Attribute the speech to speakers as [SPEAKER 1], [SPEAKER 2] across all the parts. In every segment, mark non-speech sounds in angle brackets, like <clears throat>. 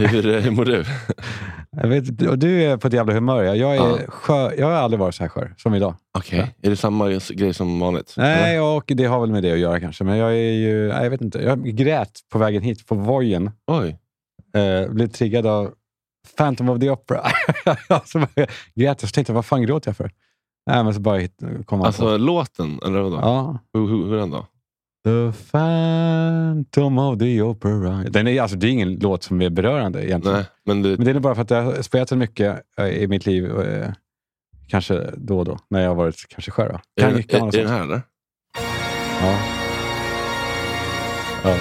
[SPEAKER 1] Hur, eh, hur mår
[SPEAKER 2] <laughs>
[SPEAKER 1] du?
[SPEAKER 2] Jag vet, och du är på ett jävla humör. ja. Jag, är
[SPEAKER 1] Ja.
[SPEAKER 2] skör, jag har aldrig varit så här skör som idag.
[SPEAKER 1] Okej, är det samma grej som vanligt?
[SPEAKER 2] Nej, och det har väl med det att göra kanske. Men jag är ju... Nej, jag vet inte. Jag grät på vägen hit på Vojen.
[SPEAKER 1] Oj.
[SPEAKER 2] Eh, blev triggad av Phantom of the Opera. <laughs> så bara, jag grät jag. Så tänkte jag, vad fan gråter jag för? Nej, men så bara hit, kom man på.
[SPEAKER 1] Alltså låten, eller vadå?
[SPEAKER 2] Ja.
[SPEAKER 1] Hur, hur, hur är den då?
[SPEAKER 2] The Phantom of the Opera. Den är, alltså, det är ingen låt som är berörande egentligen.
[SPEAKER 1] Nej, men du,
[SPEAKER 2] Men det är nog bara för att jag har spelat så mycket eh, i mitt liv. eh, Kanske då och då, när jag har varit kanske skör. då.
[SPEAKER 1] är,
[SPEAKER 2] Kan,
[SPEAKER 1] den-
[SPEAKER 2] kan vara
[SPEAKER 1] är, är den
[SPEAKER 2] något sånt.
[SPEAKER 1] här eller?
[SPEAKER 2] Ja. Ja.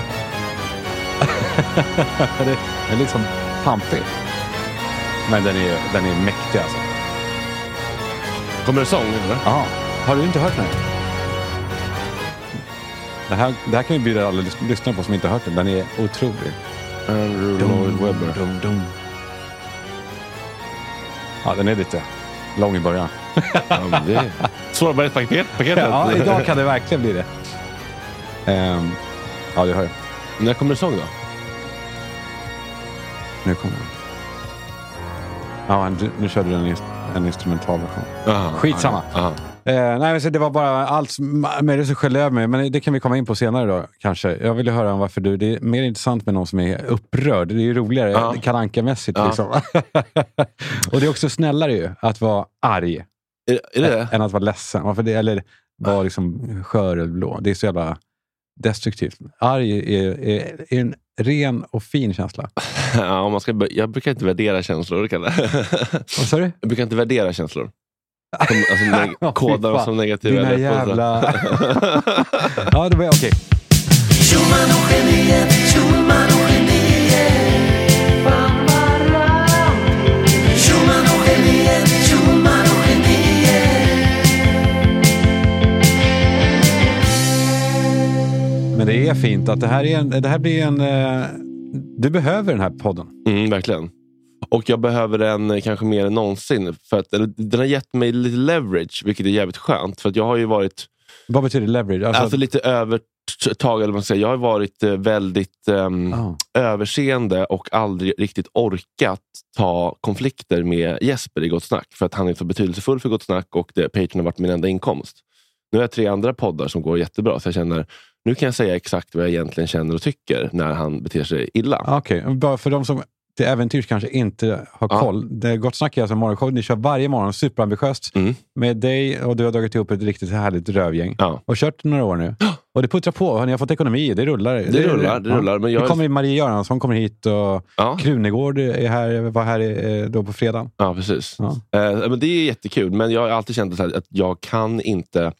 [SPEAKER 2] <laughs> det är lite som pampig. Men den är, den är mäktig alltså.
[SPEAKER 1] Kommer det sång? Eller?
[SPEAKER 2] Aha. Har du inte hört den här? Det här, det här kan vi bjuda alla lys- lyssnare på som inte har hört den. Den är otrolig.
[SPEAKER 1] Andrew Lloyd Webber.
[SPEAKER 2] Dum, dum. Ja, den är lite lång i början.
[SPEAKER 1] Ja, men det är
[SPEAKER 2] <laughs>
[SPEAKER 1] sårbarhetspaketet. paketet.
[SPEAKER 2] Ja, idag kan det verkligen bli det. Ehm, ja, du hör. jag.
[SPEAKER 1] <laughs> När kommer det sång då?
[SPEAKER 2] Nu kommer den. Ja, han- nu körde du en, inst- en instrumental version.
[SPEAKER 1] Aha,
[SPEAKER 2] Skitsamma.
[SPEAKER 1] Aha.
[SPEAKER 2] Eh, nej, men så det var bara allt som- möjligt som sköljde över mig, men det kan vi komma in på senare då kanske. Jag ville höra om varför du... Det är mer intressant med någon som är upprörd. Det är ju roligare
[SPEAKER 1] Ja.
[SPEAKER 2] Kalle Anka-mässigt.
[SPEAKER 1] Ja.
[SPEAKER 2] Liksom. <laughs> Och det är också snällare ju, att vara arg
[SPEAKER 1] Är, är det det?
[SPEAKER 2] än att vara ledsen. Varför det, eller vara liksom skör eller blå. Det är så jävla destruktivt. Arg är, är, är en ren och fin känsla.
[SPEAKER 1] <laughs> Ja, om man ska, bör- jag brukar inte värdera känslor, Kalle.
[SPEAKER 2] <laughs> Vad sa du?
[SPEAKER 1] <laughs> Jag brukar inte värdera
[SPEAKER 2] <laughs>
[SPEAKER 1] känslor. Som, alltså,
[SPEAKER 2] Ja,
[SPEAKER 1] neg-
[SPEAKER 2] fy
[SPEAKER 1] koda dem
[SPEAKER 2] fan.
[SPEAKER 1] som negativa.
[SPEAKER 2] Dina
[SPEAKER 1] eller positiva. <laughs>
[SPEAKER 2] jävla... ja, det var okej. Men det är fint att det här, är en, det här blir en... eh, Du behöver den här podden.
[SPEAKER 1] Mm, verkligen. Och jag behöver den eh, kanske mer än någonsin. För att, eller, den har gett mig lite leverage, vilket är jävligt skönt. För att jag har ju varit
[SPEAKER 2] Vad betyder leverage? Alltså,
[SPEAKER 1] alltså, lite övertag, eller vad man ska säga. Jag har varit eh, väldigt ehm,
[SPEAKER 2] ah,
[SPEAKER 1] överseende och aldrig riktigt orkat ta konflikter med Jesper i Gott Snack. För att han är så betydelsefull för Gott Snack och det, Patreon har varit min enda inkomst. Nu har jag tre andra poddar som går jättebra, så jag känner nu kan jag säga exakt vad jag egentligen känner och tycker när han beter sig illa.
[SPEAKER 2] Okej, bara för de som till äventyrs kanske inte har
[SPEAKER 1] Ja.
[SPEAKER 2] koll. Det är Gott Snack är alltså en morgonshow. Ni kör varje morgon, superambitiöst,
[SPEAKER 1] Mm.
[SPEAKER 2] med dig och du har dragit ihop ett riktigt härligt rövgäng.
[SPEAKER 1] Ja.
[SPEAKER 2] Och kört några år nu. Och det puttrar på. Ni har fått ekonomi, det rullar. Det,
[SPEAKER 1] rullar, det rullar, men jag- Ah.
[SPEAKER 2] Det kommer Marie Göransson kommer hit och
[SPEAKER 1] Ja.
[SPEAKER 2] Krunegård är här, var här eh, då på fredagen.
[SPEAKER 1] Ja, precis.
[SPEAKER 2] Ja.
[SPEAKER 1] Eh, men det är jättekul, men jag har alltid känt så här att jag kan inte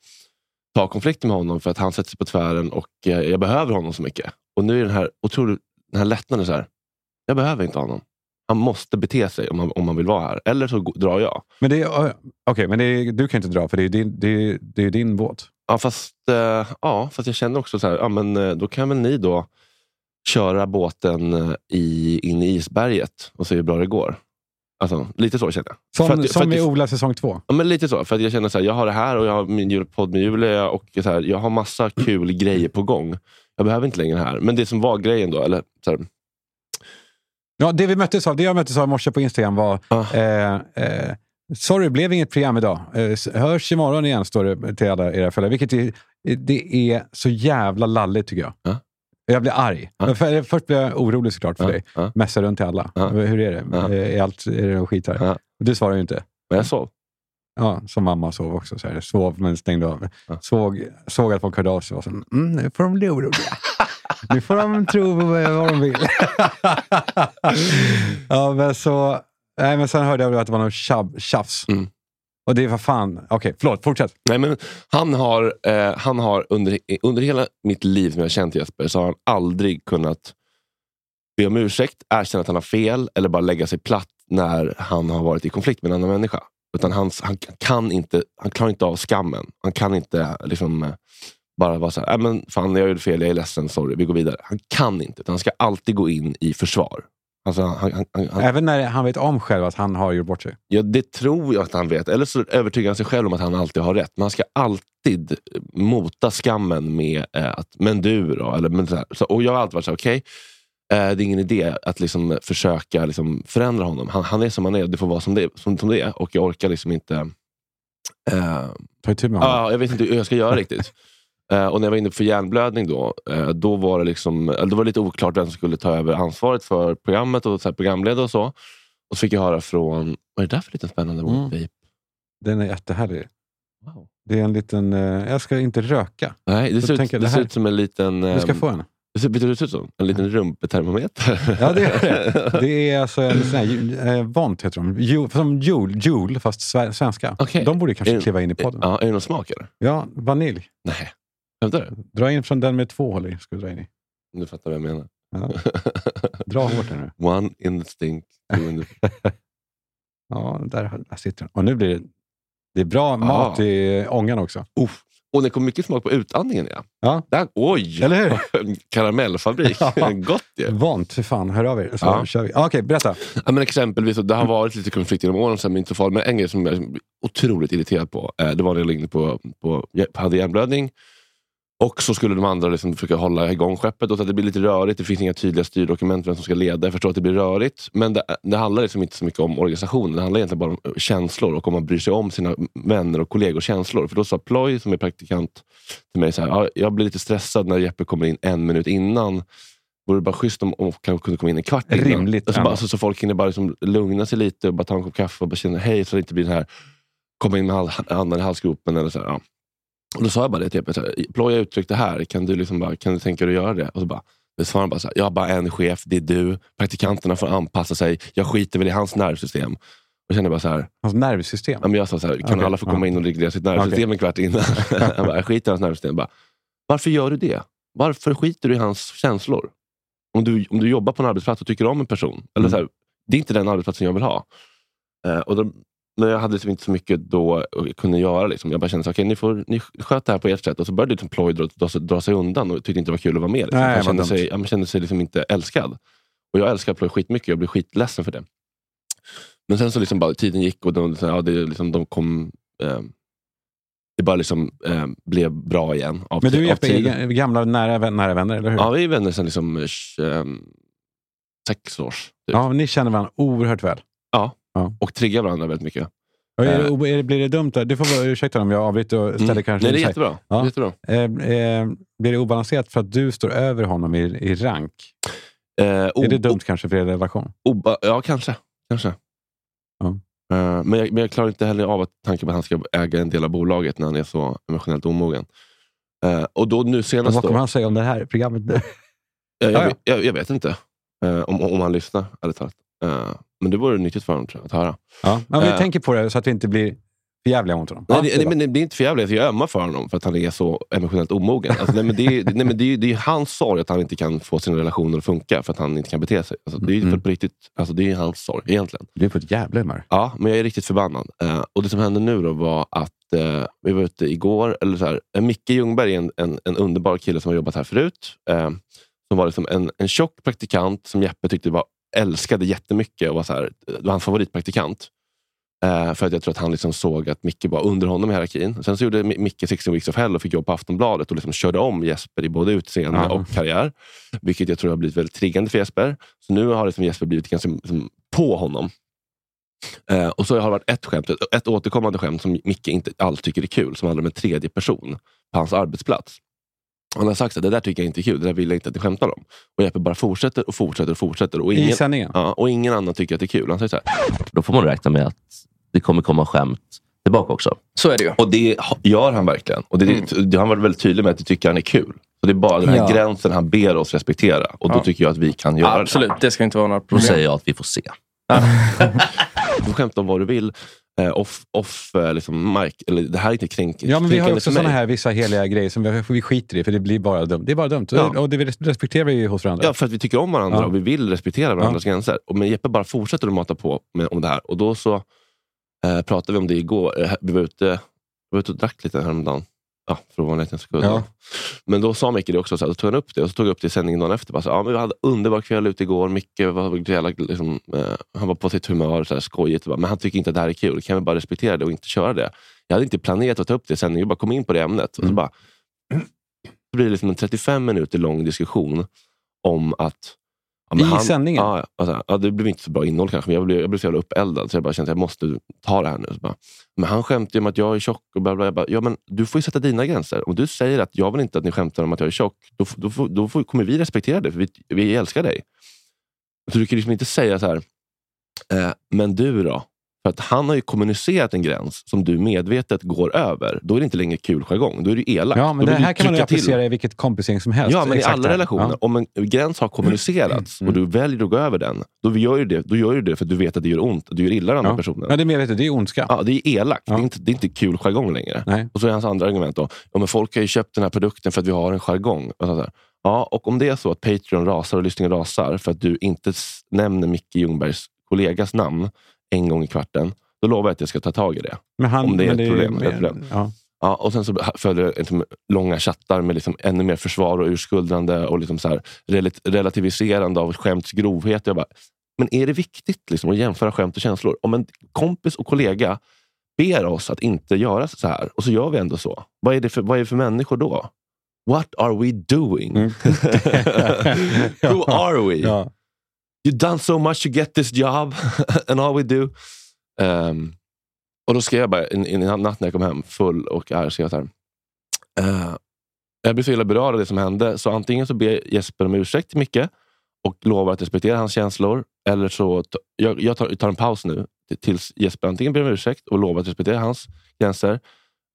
[SPEAKER 1] ta konflikter med honom för att han sätter sig på tvären och eh, jag behöver honom så mycket. Och nu är den här otroligt, den här lättnaden så här. Jag behöver inte honom. Han måste bete sig om han, om han vill vara här. Eller så go- drar jag.
[SPEAKER 2] Men, det, är- eh, okej, men det, är- du kan inte dra, för det är din, det är, det är din båt.
[SPEAKER 1] Ja, fast, eh, ja, fast jag känner också så här, ja, men, eh, då kan väl ni då köra båten eh, i, in i isberget och se hur bra det går. Alltså, lite så känner jag.
[SPEAKER 2] Som,
[SPEAKER 1] För att- för
[SPEAKER 2] som
[SPEAKER 1] att-
[SPEAKER 2] i Ola säsong två.
[SPEAKER 1] Ja, men lite så. För att jag känner så här, jag har det här och jag har min julpodd med Julia och så här, jag har massa kul grejer på gång. Jag behöver inte längre det här. Men det som var grejen då, eller så här,
[SPEAKER 2] Ja, det vi möttes av, det jag möttes av i morse på Instagram var
[SPEAKER 1] Ah.
[SPEAKER 2] eh, eh, Sorry, det blev inget program idag. Eh, s- Hörs imorgon igen, står det till alla era följare. Vilket är, det är så jävla lalligt, tycker jag.
[SPEAKER 1] Ja.
[SPEAKER 2] Jag blir arg. Men för, först blev jag orolig såklart för
[SPEAKER 1] Ja,
[SPEAKER 2] dig.
[SPEAKER 1] ja.
[SPEAKER 2] Messa runt till alla.
[SPEAKER 1] Ja.
[SPEAKER 2] Hur är det?
[SPEAKER 1] Ja.
[SPEAKER 2] Eh, Är, allt, är det någon skit här?
[SPEAKER 1] Ja.
[SPEAKER 2] Du svarar ju inte.
[SPEAKER 1] Men jag sov.
[SPEAKER 2] Ja, som mamma sov också. Så här. Sov men stängde av.
[SPEAKER 1] Ja.
[SPEAKER 2] Såg, såg att folk hörde av sig och var så, mm, nu får de bli oroliga. nu får de tro på vad
[SPEAKER 1] <laughs>
[SPEAKER 2] de vill. ja, men så, nej, men sen hörde jag att det var någon tjab, tjafs.
[SPEAKER 1] Mm.
[SPEAKER 2] Och det är vad fan... Okej, förlåt. Fortsätt.
[SPEAKER 1] Nej, men han har, eh, han har under, under hela mitt liv som jag har känt Jesper, så har han aldrig kunnat be om ursäkt, erkänna att han har fel eller bara lägga sig platt när han har varit i konflikt med en annan människa. Utan han, han, kan inte, han klarar inte av skammen. Han kan inte liksom, eh, bara vara så här, "Nej, men fan jag gjorde fel, jag är ledsen, sorry, vi går vidare. Han kan inte, utan han ska alltid gå in i försvar. Alltså, han, han, han, han,
[SPEAKER 2] Även när han vet om själv att han har gjort bort sig.
[SPEAKER 1] Ja, det tror jag att han vet. Eller så övertygar han sig själv om att han alltid har rätt. Men han ska alltid eh, mota skammen med eh, att, men du då? Eller, men så här. Så, och jag har alltid varit så här, okej, eh, det är ingen idé att liksom eh, försöka liksom förändra honom. Han, han är som han är, det får vara som det, som, som det är. Och jag orkar liksom inte... Eh,
[SPEAKER 2] Ta itu med honom.
[SPEAKER 1] ja, jag vet inte hur jag ska göra
[SPEAKER 2] <laughs>
[SPEAKER 1] riktigt. Eh, och när jag var inne för hjärnblödning då, eh, då var det liksom, eller det var lite oklart vem som skulle ta över ansvaret för programmet och så här, programleda och så. Och så fick jag höra från, vad är det där för liten spännande
[SPEAKER 2] Mm.
[SPEAKER 1] mm.
[SPEAKER 2] Den är jättehärlig.
[SPEAKER 1] wow.
[SPEAKER 2] Det är en liten... eh, jag ska inte röka.
[SPEAKER 1] Nej, det
[SPEAKER 2] Så
[SPEAKER 1] ser, ut,
[SPEAKER 2] tänker
[SPEAKER 1] det
[SPEAKER 2] jag, det
[SPEAKER 1] ser
[SPEAKER 2] här-
[SPEAKER 1] ut som en liten...
[SPEAKER 2] Du ska
[SPEAKER 1] ehm,
[SPEAKER 2] få en.
[SPEAKER 1] det ser, vet du vad det ser ut som? En liten rumpetermometer.
[SPEAKER 2] Ja, det är
[SPEAKER 1] <laughs>
[SPEAKER 2] det. Det är alltså en sån här, ju- eh, Vont heter de. Ju, som Jul, Jul fast sve- svenska.
[SPEAKER 1] Okej.
[SPEAKER 2] De borde kanske
[SPEAKER 1] Är-
[SPEAKER 2] kliva in i podden.
[SPEAKER 1] ja, är det någon smak eller?
[SPEAKER 2] Ja, vanilj.
[SPEAKER 1] Nej. Skämtar du?
[SPEAKER 2] Dra in från den med två håll i. Ska du dra in i.
[SPEAKER 1] Du fattar vad jag menar.
[SPEAKER 2] Ja.
[SPEAKER 1] <laughs>
[SPEAKER 2] Dra hårt här nu.
[SPEAKER 1] One in the stink, two
[SPEAKER 2] <laughs>
[SPEAKER 1] in the...
[SPEAKER 2] Ja, där, har- där sitter den. Och nu blir det, det är bra mat i ångan också.
[SPEAKER 1] Ah. Uff. Och det kom mycket smak på utandningen. Ja.
[SPEAKER 2] Ja.
[SPEAKER 1] Där, oj!
[SPEAKER 2] Eller hur?
[SPEAKER 1] <laughs> Karamellfabrik.
[SPEAKER 2] <laughs> Ja.
[SPEAKER 1] Gott ju!
[SPEAKER 2] Vant, för fan. Hör av er så
[SPEAKER 1] Ja.
[SPEAKER 2] kör vi. Ah, Okej, berätta.
[SPEAKER 1] Ja, men exempelvis, det har varit lite konflikt genom åren, så här, men inte så farligt. Men en grej som jag är otroligt irriterad på, eh, det var när jag låg inne på, på, hade hjärnblödning. Och så skulle de andra liksom försöka hålla igång skeppet. Och så att det blir lite rörigt. Det finns inga tydliga styrdokument vem som ska leda. Jag förstår att det blir rörigt. Men det, det handlar liksom inte så mycket om organisationen. Det handlar egentligen bara om eh, känslor och om man bryr sig om sina vänner och kollegors känslor. För då sa Ploy, som är praktikant till mig, så här, "Ja, jag blir lite stressad när Jeppe kommer in en minut innan. Vore det bara schysst om, om han kunde komma in en kvart innan?
[SPEAKER 2] Rimligt,
[SPEAKER 1] Alltså,
[SPEAKER 2] ändå.
[SPEAKER 1] bara, alltså, så folk hinner bara liksom lugna sig lite och bara ta en kopp kaffe och bara känna hej. Så det inte blir den här, komma in med hal- handen i halsgropen. Eller så här, ja. Och då sa jag bara det till Jeppe. så här, Ploy, jag uttryckte det här. Kan du, liksom bara, kan du tänka dig att göra det? Och så bara, då svarade han bara så här, jag har bara en chef, det är du. Praktikanterna får anpassa sig. Jag skiter väl i hans nervsystem. Och kände bara så här,
[SPEAKER 2] Hans nervsystem.
[SPEAKER 1] ja, men jag sa så här, kan
[SPEAKER 2] Okej,
[SPEAKER 1] alla få
[SPEAKER 2] ja.
[SPEAKER 1] komma in och reglera sitt nervsystem en kvart innan? <laughs> Han bara, jag skiter i hans nervsystem. Jag Bara, Varför gör du det? Varför skiter du i hans känslor? Om du, om du jobbar på en arbetsplats och tycker om en person, eller så här, det är inte den arbetsplatsen jag vill ha. Eh, och då, men jag hade liksom inte så mycket då jag kunde göra. Liksom. Jag bara kände, så, okay, ni, får, ni sköt det här på ert sätt. Och så började liksom Ploy dra, dra, sig- dra sig undan och tyckte inte det var kul att vara med. Liksom.
[SPEAKER 2] Nej,
[SPEAKER 1] han,
[SPEAKER 2] vad
[SPEAKER 1] kände
[SPEAKER 2] dumt.
[SPEAKER 1] sig, han kände sig liksom inte älskad. Och jag älskar Ploy skitmycket. Jag blev skitledsen för det. Men sen så liksom bara, tiden gick och de, så här, ja, det, liksom, de kom... Eh, det bara liksom, eh, blev bra igen. Av,
[SPEAKER 2] Men du
[SPEAKER 1] av
[SPEAKER 2] Jeppe, är
[SPEAKER 1] tiden.
[SPEAKER 2] g- gamla nära, vän- nära vänner, eller hur?
[SPEAKER 1] Ja, vi är vänner sedan liksom, eh, sex års. Typ.
[SPEAKER 2] Ja, ni känner varandra oerhört väl.
[SPEAKER 1] Och triggar varandra väldigt mycket.
[SPEAKER 2] Och är det,
[SPEAKER 1] Eh.
[SPEAKER 2] o- är det, blir det dumt? Där? Du får vara ursäkta om jag avbryter och ställer kanske...
[SPEAKER 1] Mm. Nej, det är
[SPEAKER 2] så här-
[SPEAKER 1] jättebra.
[SPEAKER 2] Ja.
[SPEAKER 1] jättebra.
[SPEAKER 2] Eh, eh, blir det obalanserat för att du står över honom i, i rank?
[SPEAKER 1] Eh,
[SPEAKER 2] är det
[SPEAKER 1] o-
[SPEAKER 2] dumt kanske för er relation?
[SPEAKER 1] Oba, ja, kanske. kanske.
[SPEAKER 2] Ja.
[SPEAKER 1] Eh, men, jag, men jag klarar inte heller av att tanken på att han ska äga en del av bolaget när han är så emotionellt omogen. Eh, och då nu
[SPEAKER 2] Och
[SPEAKER 1] senast...
[SPEAKER 2] vad
[SPEAKER 1] Då,
[SPEAKER 2] kommer han säga om det här programmet nu?
[SPEAKER 1] Eh,
[SPEAKER 2] Ja,
[SPEAKER 1] jag,
[SPEAKER 2] ja.
[SPEAKER 1] jag, jag vet inte eh, om, om han lyssnar, ärligt talat. Eh, men det vore nyttigt för honom tror jag, att höra.
[SPEAKER 2] Ja. Men vi
[SPEAKER 1] Eh.
[SPEAKER 2] tänker på det så att vi inte blir för jävliga mot honom.
[SPEAKER 1] Nej,
[SPEAKER 2] Ja,
[SPEAKER 1] det,
[SPEAKER 2] det är
[SPEAKER 1] nej,
[SPEAKER 2] bra.
[SPEAKER 1] men det blir inte för jävligt. Jag ömmar för honom för att han är så emotionellt omogen. Alltså, nej, men det, är- <laughs> nej, men det, är ju- det är ju hans sorg att han inte kan få sina relationer att funka för att han inte kan bete sig. Alltså, det är ju
[SPEAKER 2] Mm.
[SPEAKER 1] för på riktigt, alltså, det är ju hans sorg egentligen.
[SPEAKER 2] Du är på ett jävla humör.
[SPEAKER 1] Ja, men jag är riktigt förbannad. Eh, och Det som hände nu då var att eh, vi var ute igår. Eller så här, eh, Micke Ljungberg är en, en, en underbar kille som har jobbat här förut. Eh, som var liksom en, en tjock praktikant som Jeppe tyckte var, älskade jättemycket. Och var, så här, det var hans favoritpraktikant. Eh, för att jag tror att han liksom såg att Micke var under honom i hierarkin. Sen så gjorde Mi- Micke 16 weeks of hell och fick jobb på Aftonbladet och liksom körde om Jesper i både utseende
[SPEAKER 2] Ja.
[SPEAKER 1] och karriär. Vilket jag tror har blivit väldigt triggande för Jesper. Så nu har liksom Jesper blivit ganska liksom, på honom. Eh, och så har det varit ett skämt, ett, ett återkommande skämt som Micke inte alls tycker är kul, som handlar om en tredje person på hans arbetsplats. Och han har sagt att det där tycker jag inte är kul, det där vill jag inte att ni skämtar om. Och Jeppe bara fortsätter och fortsätter och fortsätter. Och
[SPEAKER 2] I
[SPEAKER 1] ingen,
[SPEAKER 2] sändningen?
[SPEAKER 1] ja, och ingen annan tycker att det är kul. Han säger så här,
[SPEAKER 3] Då får man räkna med att det kommer komma skämt tillbaka också.
[SPEAKER 4] Så är det ju.
[SPEAKER 1] och det ha- gör han verkligen. Och det, det, han har varit väldigt tydlig med att det tycker han är kul. Så det är bara den här
[SPEAKER 4] Ja.
[SPEAKER 1] gränsen han ber oss respektera. Och då
[SPEAKER 4] Ja.
[SPEAKER 1] tycker jag att vi kan göra
[SPEAKER 4] Absolut, det ska inte vara några
[SPEAKER 3] Då
[SPEAKER 4] problem.
[SPEAKER 3] säger jag att vi får se.
[SPEAKER 1] det. Du får skämta om vad du vill. Eh, off, off eh, liksom, Mike, eller, det här är inte liksom kränk,
[SPEAKER 2] Ja, men vi har
[SPEAKER 1] kränkande
[SPEAKER 2] ju också
[SPEAKER 1] för mig.
[SPEAKER 2] sådana här vissa heliga grejer som vi, vi skiter i, för det blir bara dumt. Det är bara dumt.
[SPEAKER 1] Ja.
[SPEAKER 2] Och det respekterar vi ju hos varandra.
[SPEAKER 1] Ja, för att vi tycker om varandra
[SPEAKER 2] Ja.
[SPEAKER 1] och vi vill respektera varandras gränser. Och, men Jeppe bara fortsätter att mata på med, om det här. Och då så eh, pratade vi om det igår. Eh, Vi var ute, vi var ute och drack lite häromdagen. Ja, för att vara en liten sekund.
[SPEAKER 2] Ja.
[SPEAKER 1] Men då sa Micke det också, så här, då tog han upp det. Och så tog jag upp det i sändningen dagen efter. Bara, så, här, ja, men vi hade underbar kväll ute igår. Micke var, så jävla, liksom, eh, han var på sitt humör, så här, skojigt. Bara, men han tycker inte att det här är kul. Kan vi bara respektera det och inte köra det? Jag hade inte planerat att ta upp det i sändningen. Jag bara kom in på det ämnet.
[SPEAKER 2] Mm.
[SPEAKER 1] Och så bara, så blir det liksom en 35 minuter lång diskussion om att... Ja, men
[SPEAKER 2] I sändningen?
[SPEAKER 1] Ja, alltså, ja, det blev inte så bra innehåll kanske, men jag blev, jag blev så jävla uppeldad så jag bara kände att jag måste ta det här nu. Så bara, men han skämtar ju om att jag är tjock. Och bla bla, bla. Jag bara, ja, men du får ju sätta dina gränser. Om du säger att jag vill inte att ni skämtar om att jag är tjock, då, f- då, får- då får, kommer vi respektera det, för vi, vi älskar dig. Så du kan liksom inte säga så här, eh, men du då? För att han har ju kommunicerat en gräns som du medvetet går över. Då är det inte längre kul jargong. Då är det ju elakt.
[SPEAKER 2] Ja,
[SPEAKER 1] då
[SPEAKER 2] men det
[SPEAKER 1] vill du
[SPEAKER 2] här kan man ju
[SPEAKER 1] trycka till.
[SPEAKER 2] applicera i vilket kompisgäng som helst.
[SPEAKER 1] Ja, men i
[SPEAKER 2] Alltså, Exakt
[SPEAKER 1] alla
[SPEAKER 2] här.
[SPEAKER 1] relationer.
[SPEAKER 2] Ja. Mm.
[SPEAKER 1] Om en gräns har kommunicerats och du väljer att gå över den, då gör ju det, då gör ju det för att du vet att det gör ont. Du gör illa den andra
[SPEAKER 2] Ja.
[SPEAKER 1] personen.
[SPEAKER 2] Ja, det är medvetet. Det är ondska.
[SPEAKER 1] Ja, det är elakt.
[SPEAKER 2] Ja.
[SPEAKER 1] Det, är inte, det är inte kul jargong längre.
[SPEAKER 2] Nej.
[SPEAKER 1] Och så är hans andra argument då. Ja, men folk har ju köpt den här produkten för att vi har en jargong. Och så där. Ja, och om det är så att Patreon rasar och lyssningen rasar för att du inte s- nämner Micke Ljungbergs kollegas namn en gång i kvarten, då lovar jag att jag ska ta tag i det.
[SPEAKER 2] Men han,
[SPEAKER 1] Om det är
[SPEAKER 2] men
[SPEAKER 1] ett
[SPEAKER 2] ju
[SPEAKER 1] problem, ett
[SPEAKER 2] med-
[SPEAKER 1] problem.
[SPEAKER 2] Ja.
[SPEAKER 1] Ja, och sen så följde det liksom långa chattar med liksom ännu mer försvar och urskuldrande och liksom så här relat- relativiserande av skämts grovhet. Jag bara, men är det viktigt liksom att jämföra skämt och känslor? Om en kompis och kollega ber oss att inte göra så här och så gör vi ändå så. Vad är det för, vad är det för människor då? What are we doing?
[SPEAKER 2] Mm.
[SPEAKER 1] <laughs> Who are we?
[SPEAKER 2] <laughs> Ja.
[SPEAKER 1] You've done so much to get this job <laughs> and all we do. Ehm, och då skrev jag bara en, en natt när jag kom hem, full och arg, skrev jag så här. eh, jag blir så illa berörd av det som hände, så antingen så ber Jesper om ursäkt till Micke och lovar att respektera hans känslor. Eller så t- jag, jag tar, tar en paus nu t- tills Jesper antingen ber om ursäkt och lovar att respektera hans gränser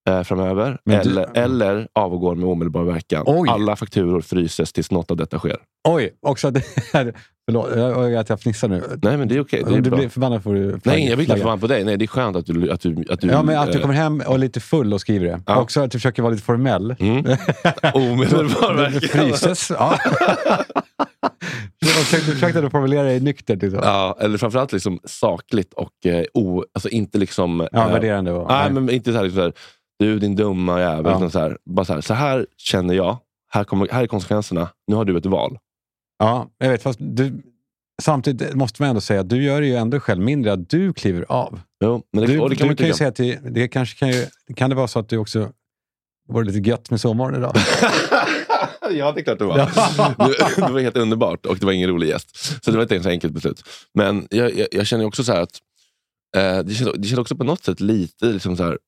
[SPEAKER 1] eh, framöver.
[SPEAKER 2] Men du-
[SPEAKER 1] eller, eller avgår med omedelbar verkan.
[SPEAKER 2] Oj.
[SPEAKER 1] Alla fakturor fryses tills något av detta sker.
[SPEAKER 2] Oj, också att det här... Förlåt jag- jag- att jag fnissar nu.
[SPEAKER 1] Nej, men det är okej. det är
[SPEAKER 2] Om du
[SPEAKER 1] bra.
[SPEAKER 2] blir förbannad får du flagga-
[SPEAKER 1] Nej, jag blir inte
[SPEAKER 2] flagga.
[SPEAKER 1] förbannad på dig. Nej, det är skönt att du... Att du, att du
[SPEAKER 2] Ja, men att du
[SPEAKER 1] eh,
[SPEAKER 2] kommer hem och är lite full och skriver det.
[SPEAKER 1] Ja.
[SPEAKER 2] Också att du försöker vara lite formell.
[SPEAKER 1] Mm.
[SPEAKER 2] <laughs>
[SPEAKER 1] Omedelbar verkan.
[SPEAKER 2] Fryses.
[SPEAKER 1] <laughs>
[SPEAKER 2] Ja. Du försökte, försökte du formulera dig nyktert. Liksom.
[SPEAKER 1] Ja, eller framförallt liksom sakligt och eh, o... Alltså inte liksom...
[SPEAKER 2] Ja,
[SPEAKER 1] eh,
[SPEAKER 2] värderande. Var.
[SPEAKER 1] Nej, men inte så här, liksom så här, du din dumma jävel.
[SPEAKER 2] Ja.
[SPEAKER 1] Utan så här, bara så här, så här känner jag. Här, kommer, här är konsekvenserna. Nu har du ett val.
[SPEAKER 2] Ja, jag vet. Fast du, samtidigt måste man ändå säga att du gör det ju ändå själv mindre att du kliver av.
[SPEAKER 1] Jo, men det,
[SPEAKER 2] Du,
[SPEAKER 1] och det kan
[SPEAKER 2] man
[SPEAKER 1] man
[SPEAKER 2] kan ju
[SPEAKER 1] tycka.
[SPEAKER 2] säga att det, det kanske kan, ju, kan det vara så att du också var det lite gött med sovmorgon idag?
[SPEAKER 1] <laughs> ja, det är klart det var. det, det var helt underbart och det var ingen rolig gäst. Så det var inte ens så enkelt beslut. Men jag, jag, jag känner ju också så här att eh, det, känns, det känns också på något sätt lite liksom så här,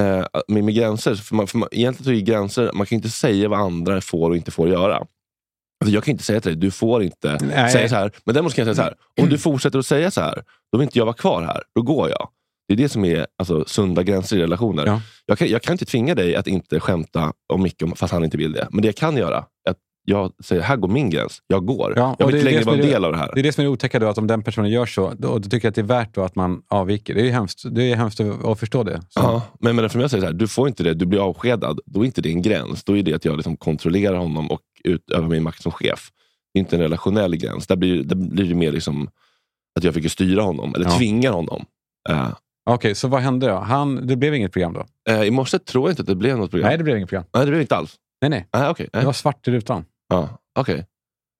[SPEAKER 1] eh, med, med gränser. För man, för man, egentligen så är ju gränser, man kan ju inte säga vad andra får och inte får göra. Alltså jag kan inte säga till dig, du får inte
[SPEAKER 2] Nej.
[SPEAKER 1] säga så här. Men däremot kan jag säga så här, om du fortsätter att säga så här, då vill inte jag vara kvar här. Då går jag. Det är det som är alltså, sunda gränser i relationer.
[SPEAKER 2] Ja.
[SPEAKER 1] Jag, kan, jag kan inte tvinga dig att inte skämta om Micke, om- fast han inte vill det. Men det jag kan göra, är att jag säger, här går min gräns. Jag går.
[SPEAKER 2] Ja,
[SPEAKER 1] jag
[SPEAKER 2] och
[SPEAKER 1] vill inte
[SPEAKER 2] det är det
[SPEAKER 1] längre
[SPEAKER 2] som
[SPEAKER 1] vara en
[SPEAKER 2] är det-
[SPEAKER 1] del av det här.
[SPEAKER 2] Det är det som är det otäcka då, att om den personen gör så, då, då tycker jag att det är värt då att man avviker. Det är ju hemskt, det är hemskt att, att förstå det. Så.
[SPEAKER 1] Ja, men, men för jag säger så här, du får inte det, du blir avskedad. Då är inte det en gräns. Då är det att jag liksom kontrollerar honom och utövar min makt som chef. Det är inte en relationell gräns. Där blir, där blir det mer liksom att jag försöker styra honom, eller
[SPEAKER 2] Ja.
[SPEAKER 1] tvingar honom. Eh,
[SPEAKER 2] Okej, så vad hände då? Han, det blev inget program då?
[SPEAKER 1] eh, I morse tror jag inte att det blev något program.
[SPEAKER 2] Nej, det blev inget program.
[SPEAKER 1] Nej, det blev inte alls.
[SPEAKER 2] Nej, nej.
[SPEAKER 1] Nej, okej.
[SPEAKER 2] Det
[SPEAKER 1] Nej.
[SPEAKER 2] var svart i rutan.
[SPEAKER 1] Ja, okej.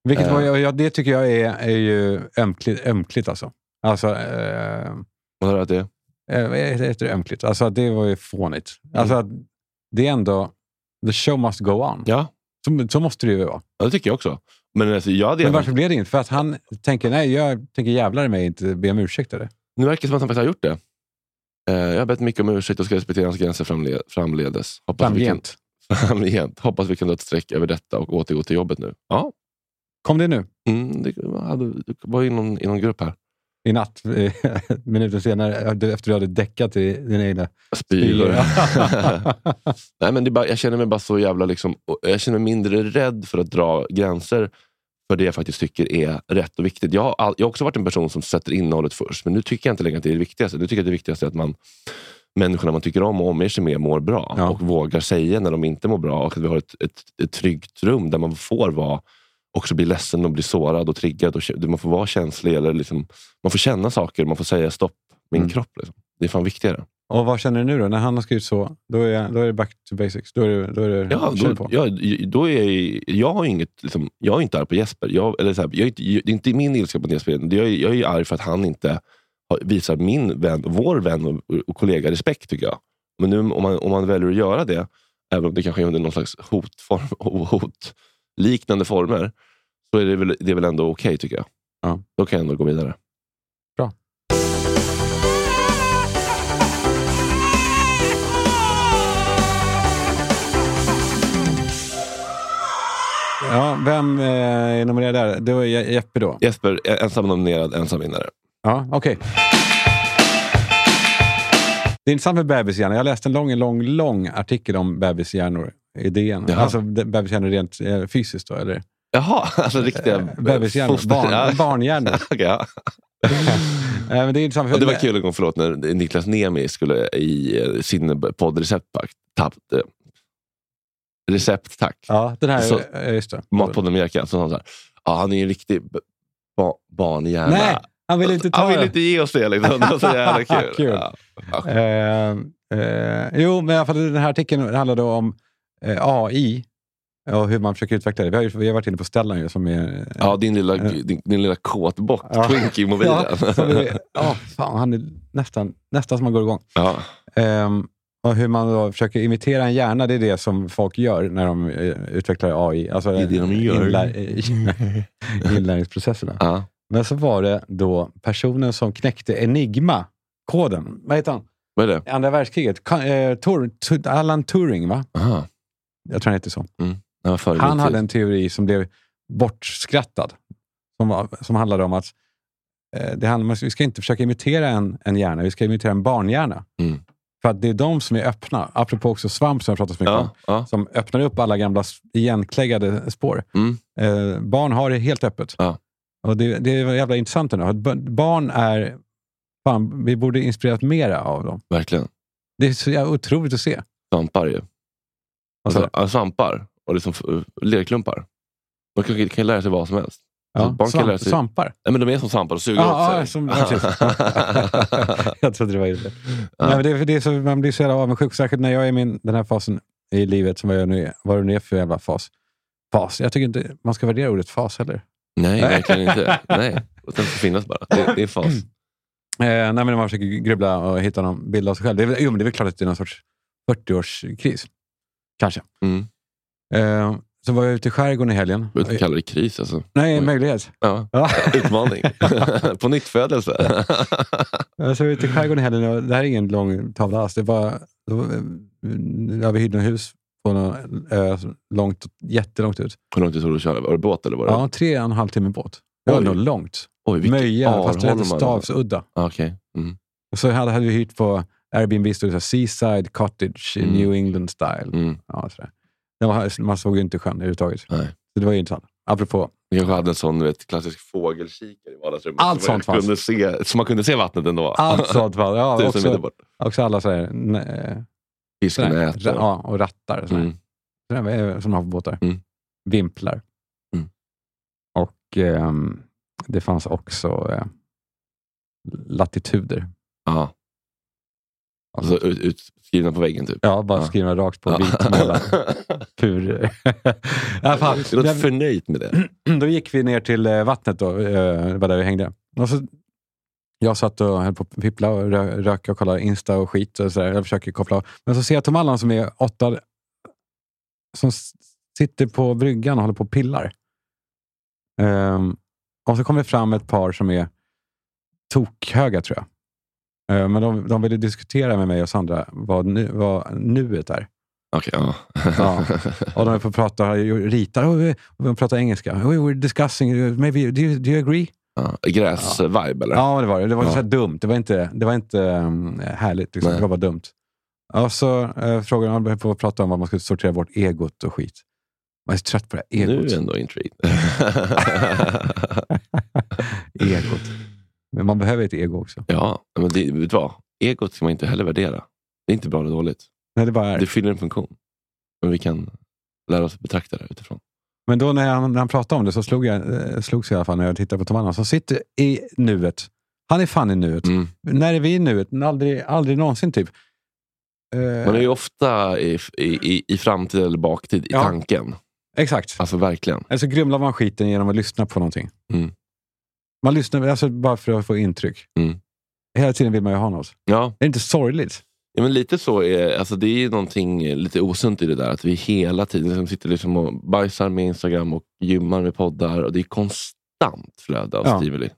[SPEAKER 2] Vilket
[SPEAKER 1] Eh.
[SPEAKER 2] var, ja, det tycker jag är, är ju ömkligt, ömkligt alltså. Alltså, eh,
[SPEAKER 1] Vad har du att det?
[SPEAKER 2] eh, vad heter det ömkligt? Alltså att det var ju fånigt.
[SPEAKER 1] Mm.
[SPEAKER 2] Alltså att det är ändå, the show must go on.
[SPEAKER 1] Ja.
[SPEAKER 2] Så, så måste det ju vara.
[SPEAKER 1] ja, det tycker jag också. Men alltså, jag hade
[SPEAKER 2] Men
[SPEAKER 1] gärna-
[SPEAKER 2] varför blev det inget? För att han tänker, nej jag tänker jävlar i mig inte be om ursäkt eller?
[SPEAKER 1] Nu verkar det som att han faktiskt har gjort det. Eh, jag har bett mycket om ursäkt och ska respektera hans gränser framle- framledes. Hoppas vi kan, <laughs>
[SPEAKER 2] Framgent.
[SPEAKER 1] framgent. Hoppas vi kan dra ett streck över detta och återgå till jobbet nu. Ja,
[SPEAKER 2] Kom det nu?
[SPEAKER 1] mm, det var- hade- det var i någon, i någon grupp här.
[SPEAKER 2] I natt, eh, <laughs> minuter senare, du- efter du hade däckat i din egna...
[SPEAKER 1] Spyor.
[SPEAKER 2] <laughs>
[SPEAKER 1] <laughs> Nej, men det är bara, jag känner mig bara så jävla... Liksom, och jag känner mig mindre rädd för att dra gränser för det jag faktiskt tycker är rätt och viktigt. Jag har, all, jag har också varit en person som sätter innehållet först, men nu tycker jag inte längre att det är det viktigaste. Nu tycker jag att det viktigaste är att man, människorna man tycker om och omger sig med mår bra
[SPEAKER 2] Ja.
[SPEAKER 1] och vågar säga när de inte mår bra och att vi har ett, ett, ett tryggt rum där man får vara också bli ledsen och bli sårad och triggad. Och, kä- man får vara känslig. Eller liksom, man får känna saker, man får säga stopp. Min
[SPEAKER 2] Mm.
[SPEAKER 1] kropp. Liksom. Det är fan viktigare.
[SPEAKER 2] Och vad känner du nu då? När han har skrivit så, då är, då är det back to basics. Då är det, då är det
[SPEAKER 1] Mm. Ja,
[SPEAKER 2] kör
[SPEAKER 1] då,
[SPEAKER 2] på.
[SPEAKER 1] ja, då är jag, ju- jag, har inget, liksom, jag är inte arg på Jesper. Jag, eller så här, jag är inte, det är inte min ilska på Jesper. Jag är, jag är ju arg för att han inte har- visar min vän, vår vän och, och kollega respekt, tycker jag. Men nu om man, om man väljer att göra det, även om det kanske är under någon slags hotform, <laughs> hot, liknande former, så är det väl, det är väl ändå okej, tycker jag.
[SPEAKER 2] Ja.
[SPEAKER 1] Då kan jag ändå gå vidare.
[SPEAKER 2] Bra. Ja, vem eh, är nominerad där? Det var Je- Jeppe då.
[SPEAKER 1] Jesper, ensam nominerad, ensam vinnare.
[SPEAKER 2] Ja, okej. Det är intressant med bebishjärnor. Jag läste en lång, lång, lång artikel om bebishjärnor i DN.
[SPEAKER 1] Jaha.
[SPEAKER 2] Alltså de- bebishjärnor rent eh, fysiskt då, eller?
[SPEAKER 1] Jaha, alltså riktiga...
[SPEAKER 2] Eh, Bebishjärnor,
[SPEAKER 1] foster- <laughs> Ja.
[SPEAKER 2] barn, barnhjärnor.
[SPEAKER 1] Okej, ja.
[SPEAKER 2] Eh, men det är intressant. för-
[SPEAKER 1] Ja, det var kul en gång, förlåt, när Niklas Niemi skulle i eh, sin podd Receptpack, tapp, eh, Recept tack,
[SPEAKER 2] Ja, den här,
[SPEAKER 1] Så-
[SPEAKER 2] ja, just det.
[SPEAKER 1] Matpodden med Jerka, så sa han så här, ja, han är ju en riktig b- ba- barnhjärna.
[SPEAKER 2] Nej, han vill inte ta
[SPEAKER 1] han vill
[SPEAKER 2] det.
[SPEAKER 1] inte ge oss det. Liksom. Det var så
[SPEAKER 2] <laughs>
[SPEAKER 1] jävla kul.
[SPEAKER 2] Kul.
[SPEAKER 1] Ja. Ja.
[SPEAKER 2] Eh, eh, jo, men i alla fall den här artikeln handlade om eh, AI och hur man försöker utveckla det. Vi har, ju, vi har varit inne på Stellan ju, som är...
[SPEAKER 1] Ja, din lilla, din, din lilla kåtbock,
[SPEAKER 2] Ja.
[SPEAKER 1] Twink i mobilen.
[SPEAKER 2] Ja, som är, ja, fan, han är nästan, nästan som man går igång.
[SPEAKER 1] Ja.
[SPEAKER 2] Ehm, och hur man då försöker imitera en hjärna, det är det som folk gör när de eh, utvecklar AI. Alltså,
[SPEAKER 1] Det är det de gör.
[SPEAKER 2] inlär- <laughs> inlärningsprocesserna.
[SPEAKER 1] Ja.
[SPEAKER 2] Men så var det då personen som knäckte Enigma-koden. Vad heter han?
[SPEAKER 1] Vad är det?
[SPEAKER 2] Andra världskriget. Ka- eh, Tur, Tu- Alan Turing, va?
[SPEAKER 1] Aha.
[SPEAKER 2] Jag tror han heter så.
[SPEAKER 1] Den var före
[SPEAKER 2] Han
[SPEAKER 1] min
[SPEAKER 2] hade
[SPEAKER 1] tid.
[SPEAKER 2] en teori som blev bortskrattad. Som, var, som handlade om att eh, det handlar om, att vi ska inte försöka imitera en, en hjärna, vi ska imitera en barnhjärna.
[SPEAKER 1] Mm.
[SPEAKER 2] För att det är de som är öppna. Apropå också svamp som jag pratat så mycket om.
[SPEAKER 1] Ja, ja.
[SPEAKER 2] Som öppnar upp alla gamla s- igenkläggade spår.
[SPEAKER 1] Mm.
[SPEAKER 2] Eh, barn har det helt öppet.
[SPEAKER 1] Ja.
[SPEAKER 2] Och det, det är jävla intressant ändå. Att b- Barn är... Fan, vi borde inspirerat mera av dem.
[SPEAKER 1] Verkligen.
[SPEAKER 2] Det är så jävla otroligt att se.
[SPEAKER 1] Svampar ju.
[SPEAKER 2] Alltså,
[SPEAKER 1] Alltså, svampar och liksom, f- lerklumpar. De kan, kan lära sig vad som helst.
[SPEAKER 2] ja,
[SPEAKER 1] barn kan
[SPEAKER 2] svamp,
[SPEAKER 1] lära sig-
[SPEAKER 2] Svampar.
[SPEAKER 1] Nej, men de är som svampar och suger
[SPEAKER 2] Ja, ja,
[SPEAKER 1] åt sig.
[SPEAKER 2] som- ja,
[SPEAKER 1] <laughs>
[SPEAKER 2] precis. <laughs> Jag trodde det var illa. Nej, men det, är- det är så, man blir så jävla avundsjuk, särskilt när jag är i min, den här fasen i livet som vad jag nu är. Vad det nu är för jävla fas. Fas. Jag tycker inte man ska värdera ordet fas heller.
[SPEAKER 1] Nej, verkligen inte. Nej. Och Den får finnas bara. Det, det är fas.
[SPEAKER 2] Eh, nej, men när man försöker grubbla och hitta någon bild av sig själv. Det är, väl- jo, men det är väl klart att det är någon sorts 40-årskris. Kanske.
[SPEAKER 1] Mm.
[SPEAKER 2] Eh, så var jag ute i skärgården i helgen.
[SPEAKER 1] Jag vet inte kalla det kris. Alltså.
[SPEAKER 2] Nej, möjlighet.
[SPEAKER 1] Ja.
[SPEAKER 2] Ja.
[SPEAKER 1] Utmaning. På nytt födelse.
[SPEAKER 2] <laughs> Jag såg ut i skärgården i helgen och det här är ingen lång tavla alls. Det var, det var, ja, vi hyrde en hus på någon ö som- långt, jättelångt ut.
[SPEAKER 1] Hur långt det tog det att köra? Var det båt eller var det?
[SPEAKER 2] Ja, tre och en halv timme båt. Det var
[SPEAKER 1] Oj.
[SPEAKER 2] nog långt.
[SPEAKER 1] Oj, vilket
[SPEAKER 2] Möja, fast det hette
[SPEAKER 1] Arholma.
[SPEAKER 2] Stavsudda.
[SPEAKER 1] Ah, Okej. Mm.
[SPEAKER 2] Och så hade, hade vi hyrt på Airbnb, stod det så här, Seaside Cottage in
[SPEAKER 1] Mm.
[SPEAKER 2] New England style.
[SPEAKER 1] Mm.
[SPEAKER 2] Ja, sådär. Det var, man såg ju inte sjön överhuvudtaget.
[SPEAKER 1] Nej.
[SPEAKER 2] Så det var ju intressant. Apropå,
[SPEAKER 1] Vi kanske hade en sån du vet, klassisk fågelkikare i vardagsrummet.
[SPEAKER 2] Allt
[SPEAKER 1] som man
[SPEAKER 2] sånt fanns.
[SPEAKER 1] kunde se, Så man kunde se vattnet ändå.
[SPEAKER 2] allt sånt var ja,
[SPEAKER 1] <laughs> Tusen meter
[SPEAKER 2] också,
[SPEAKER 1] bort.
[SPEAKER 2] också alla sådär, nä-
[SPEAKER 1] Fisken
[SPEAKER 2] sådär,
[SPEAKER 1] äter.
[SPEAKER 2] ja, och rattar. och Sådär. eh,
[SPEAKER 1] Mm.
[SPEAKER 2] Sådana här som man har på båtar.
[SPEAKER 1] Mm.
[SPEAKER 2] Vimplar.
[SPEAKER 1] Mm.
[SPEAKER 2] Och ehm, det fanns också eh, latituder.
[SPEAKER 1] Ja. Alltså, ut, utskrivna på väggen typ.
[SPEAKER 2] Ja, bara
[SPEAKER 1] Ja.
[SPEAKER 2] skrivna rakt på
[SPEAKER 1] <laughs>
[SPEAKER 2] vitmålad pur. ja, fan.
[SPEAKER 1] Jag låter förnöjt med det.
[SPEAKER 2] <clears throat> Då gick vi ner till eh, vattnet, då, eh, det var där vi hängde. Och så, jag satt och höll på att pippla och rö- röka och kolla Insta och skit. Och så där. Jag försöker koppla av. Men så ser jag Tom Allan som är åtta, som s- sitter på bryggan och håller på och pillar. Ehm, och så kommer det fram ett par som är tokhöga, tror jag. Eh, Men de, de ville diskutera med mig och Sandra vad, nu, vad nuet är.
[SPEAKER 1] Okej, ja.
[SPEAKER 2] Ja. <laughs> Och de får prata, ritar och eh, de pratar engelska. Oh, We're discussing, eh, maybe, do you, do you agree?
[SPEAKER 1] <laughs> Ja, Gräs-vibe, eller?
[SPEAKER 2] Ja, det var det. Det var
[SPEAKER 1] Ja.
[SPEAKER 2] så här dumt. Det var inte, det var inte um, härligt. Liksom.
[SPEAKER 1] Nej.
[SPEAKER 2] Det var bara dumt. Och så eh, frågade han började på att prata om att man skulle sortera bort egot och skit. Man är så trött på det här
[SPEAKER 1] nu är
[SPEAKER 2] egot.
[SPEAKER 1] jag ändå intrigued. <laughs>
[SPEAKER 2] egot. Men man behöver ett ego också.
[SPEAKER 1] ja, men det, vet du vad? Egot ska man inte heller värdera. Det är inte bra eller dåligt.
[SPEAKER 2] Nej, det bara är.
[SPEAKER 1] Det fyller en funktion. Men vi kan lära oss att betrakta det utifrån.
[SPEAKER 2] Men då när han, när han pratade om det så slog jag, eh, slogs jag i alla fall när jag tittade på Tom Annan som sitter i nuet. Han är fan i nuet.
[SPEAKER 1] Mm.
[SPEAKER 2] När är vi i nuet? Men Aldrig, aldrig någonsin typ. Eh,
[SPEAKER 1] Man är ju ofta i, i, i- i framtid eller baktid i
[SPEAKER 2] Ja.
[SPEAKER 1] tanken.
[SPEAKER 2] Exakt.
[SPEAKER 1] Alltså verkligen.
[SPEAKER 2] Eller så grumlar man skiten genom att lyssna på någonting.
[SPEAKER 1] Mm.
[SPEAKER 2] Man lyssnar alltså bara för att få intryck.
[SPEAKER 1] Mm.
[SPEAKER 2] Hela tiden vill man ju ha något.
[SPEAKER 1] Ja,
[SPEAKER 2] Det är inte sorgligt.
[SPEAKER 1] ja men lite så. Är, alltså det är ju någonting eh, lite osunt i det där. Att vi hela tiden liksom sitter liksom och bajsar med Instagram och gymmar med poddar. Och Det är konstant flöde av
[SPEAKER 2] Ja.
[SPEAKER 1] stimuli.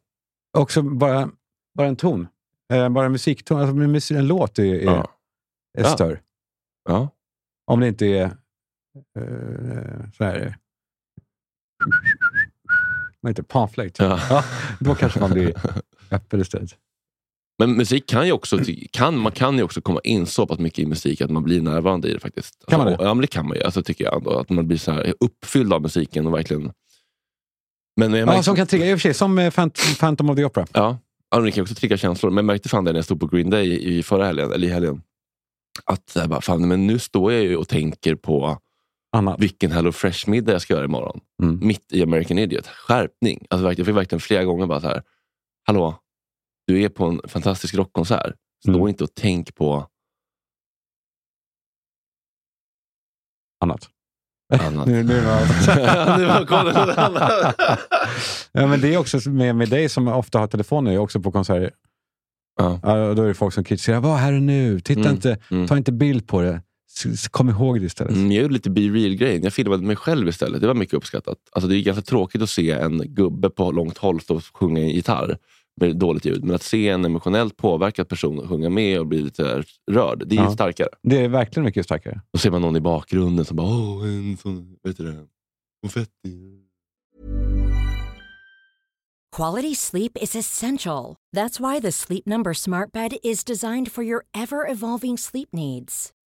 [SPEAKER 2] Också bara, bara en ton. Eh, bara en musikton. Alltså en, mus- en låt är, är,
[SPEAKER 1] Ja.
[SPEAKER 2] är
[SPEAKER 1] Ja.
[SPEAKER 2] större.
[SPEAKER 1] Ja.
[SPEAKER 2] Om det inte är eh, så här... Vad heter det? Panflöjt.
[SPEAKER 1] typ. Ja.
[SPEAKER 2] Ja, då kanske
[SPEAKER 1] <laughs>
[SPEAKER 2] man blir öppen istället.
[SPEAKER 1] Men musik kan ju också, ty- kan, man kan ju också komma in så pass mycket i musik att man blir närvarande i det faktiskt.
[SPEAKER 2] Kan man det?
[SPEAKER 1] Alltså, Ja, men det kan man ju. Alltså, tycker jag ändå, att man blir så här uppfylld av musiken och verkligen... Men liksom- jag
[SPEAKER 2] Ja,
[SPEAKER 1] märkte,
[SPEAKER 2] som kan trigga. I och för sig, som eh, Phant- Phantom of the Opera.
[SPEAKER 1] ja, ja, men det kan också trigga känslor. Men jag märkte fan det när jag stod på Green Day i förra helgen, eller i helgen. Att så här, bara, fan, men nu står jag ju och tänker på
[SPEAKER 2] Annat.
[SPEAKER 1] vilken Hello Fresh-middag jag ska göra imorgon.
[SPEAKER 2] Mm.
[SPEAKER 1] Mitt i American Idiot. Skärpning! Alltså, verkligen- jag fick verkligen flera gånger bara så här, hallå, du är på en fantastisk rockkonsert. Stå
[SPEAKER 2] Mm.
[SPEAKER 1] inte och tänk på
[SPEAKER 2] Annat.
[SPEAKER 1] annat.
[SPEAKER 2] <laughs> Nu, nu är det annat.
[SPEAKER 1] nu var kollen någon annan.
[SPEAKER 2] Ja, men det är också med, med dig som ofta har telefoner, jag är också på konserter.
[SPEAKER 1] Ja.
[SPEAKER 2] Ja, då är det folk som kritiserar. Vad här är nu? Titta
[SPEAKER 1] Mm,
[SPEAKER 2] inte,
[SPEAKER 1] mm.
[SPEAKER 2] ta inte bild på det. S- s- Kom ihåg det istället.
[SPEAKER 1] <laughs> Mm, jag gjorde lite be real-grejen. Jag filmade mig själv istället. Det var mycket uppskattat. Alltså, det är ganska tråkigt att se en gubbe på långt håll stå och sjunga en gitarr med dåligt ljud. Men att se en emotionellt påverkad person sjunga med och bli lite rörd, det är
[SPEAKER 2] Ja.
[SPEAKER 1] ju starkare.
[SPEAKER 2] Det är verkligen mycket starkare.
[SPEAKER 1] Då ser man någon i bakgrunden som bara, åh, en sån, vet du det, konfetti. <laughs>
[SPEAKER 4] Quality sleep is essential. That's why the Sleep Number Smart Bed is designed for your ever evolving sleep needs.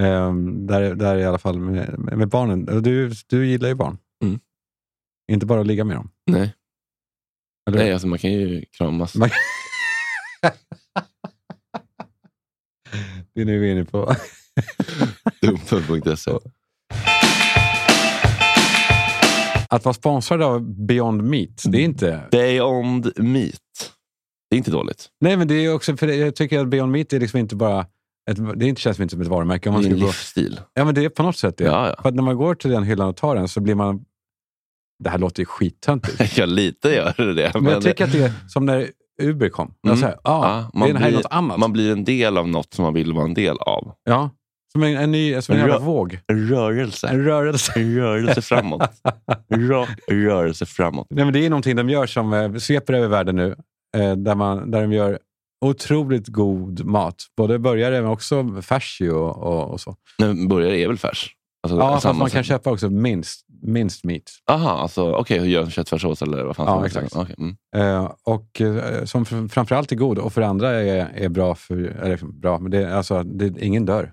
[SPEAKER 2] Ehm, där, där i alla fall med, med barnen. Och Du, du gillar ju barn.
[SPEAKER 1] Mm.
[SPEAKER 2] Inte bara att
[SPEAKER 1] <laughs>
[SPEAKER 2] ligga med dem.
[SPEAKER 1] Nej.
[SPEAKER 2] Eller?
[SPEAKER 1] Nej, alltså man kan ju kramas.
[SPEAKER 2] Man- <laughs> Det är nu vi är inne på.
[SPEAKER 1] <laughs> Dumpen.se.
[SPEAKER 2] Att vara sponsrad av Beyond Meat, det är
[SPEAKER 1] Mm.
[SPEAKER 2] inte...
[SPEAKER 1] Day on the meat. Det är inte dåligt.
[SPEAKER 2] Nej, men det är också för jag tycker att Beyond Meat är liksom inte bara Ett, det känns inte som ett varumärke. Om
[SPEAKER 1] Det
[SPEAKER 2] man
[SPEAKER 1] är en
[SPEAKER 2] skulle gå,
[SPEAKER 1] livsstil.
[SPEAKER 2] ja, men det är på något sätt det.
[SPEAKER 1] Ja, ja.
[SPEAKER 2] För att när man går till den hyllan och tar den så blir man... Det här låter ju
[SPEAKER 1] <laughs>
[SPEAKER 2] skittöntigt.
[SPEAKER 1] Ja, lite gör det det.
[SPEAKER 2] Men jag tycker att det är som när Uber kom. Jag
[SPEAKER 1] Mm.
[SPEAKER 2] sa, ja,
[SPEAKER 1] Ja,
[SPEAKER 2] det är- det här är något annat.
[SPEAKER 1] man blir en del av något som man vill vara en del av.
[SPEAKER 2] Ja, som en, en ny som en
[SPEAKER 1] En
[SPEAKER 2] jävla
[SPEAKER 1] rö-
[SPEAKER 2] våg.
[SPEAKER 1] En rörelse.
[SPEAKER 2] En rörelse.
[SPEAKER 1] En rörelse framåt.
[SPEAKER 2] <laughs>
[SPEAKER 1] Rak rörelse framåt.
[SPEAKER 2] Nej, men det är någonting de gör som eh, sveper över världen nu. Eh, där, man, där de gör otroligt god mat. Både burgare men också färs ju och, och, och så.
[SPEAKER 1] Men burgare är väl färs? Alltså,
[SPEAKER 2] Ja, fast
[SPEAKER 1] samma
[SPEAKER 2] man kan
[SPEAKER 1] sak.
[SPEAKER 2] köpa också minst, minst meat.
[SPEAKER 1] Aha, alltså, okej, hur gör en köttfärssås eller vad fan
[SPEAKER 2] Ja,
[SPEAKER 1] som helst.
[SPEAKER 2] exakt.
[SPEAKER 1] Okej, mm.
[SPEAKER 2] Eh, och eh, som fr- framförallt är god och för andra är, är bra. För, eller bra, men det, är- alltså, det, ingen dör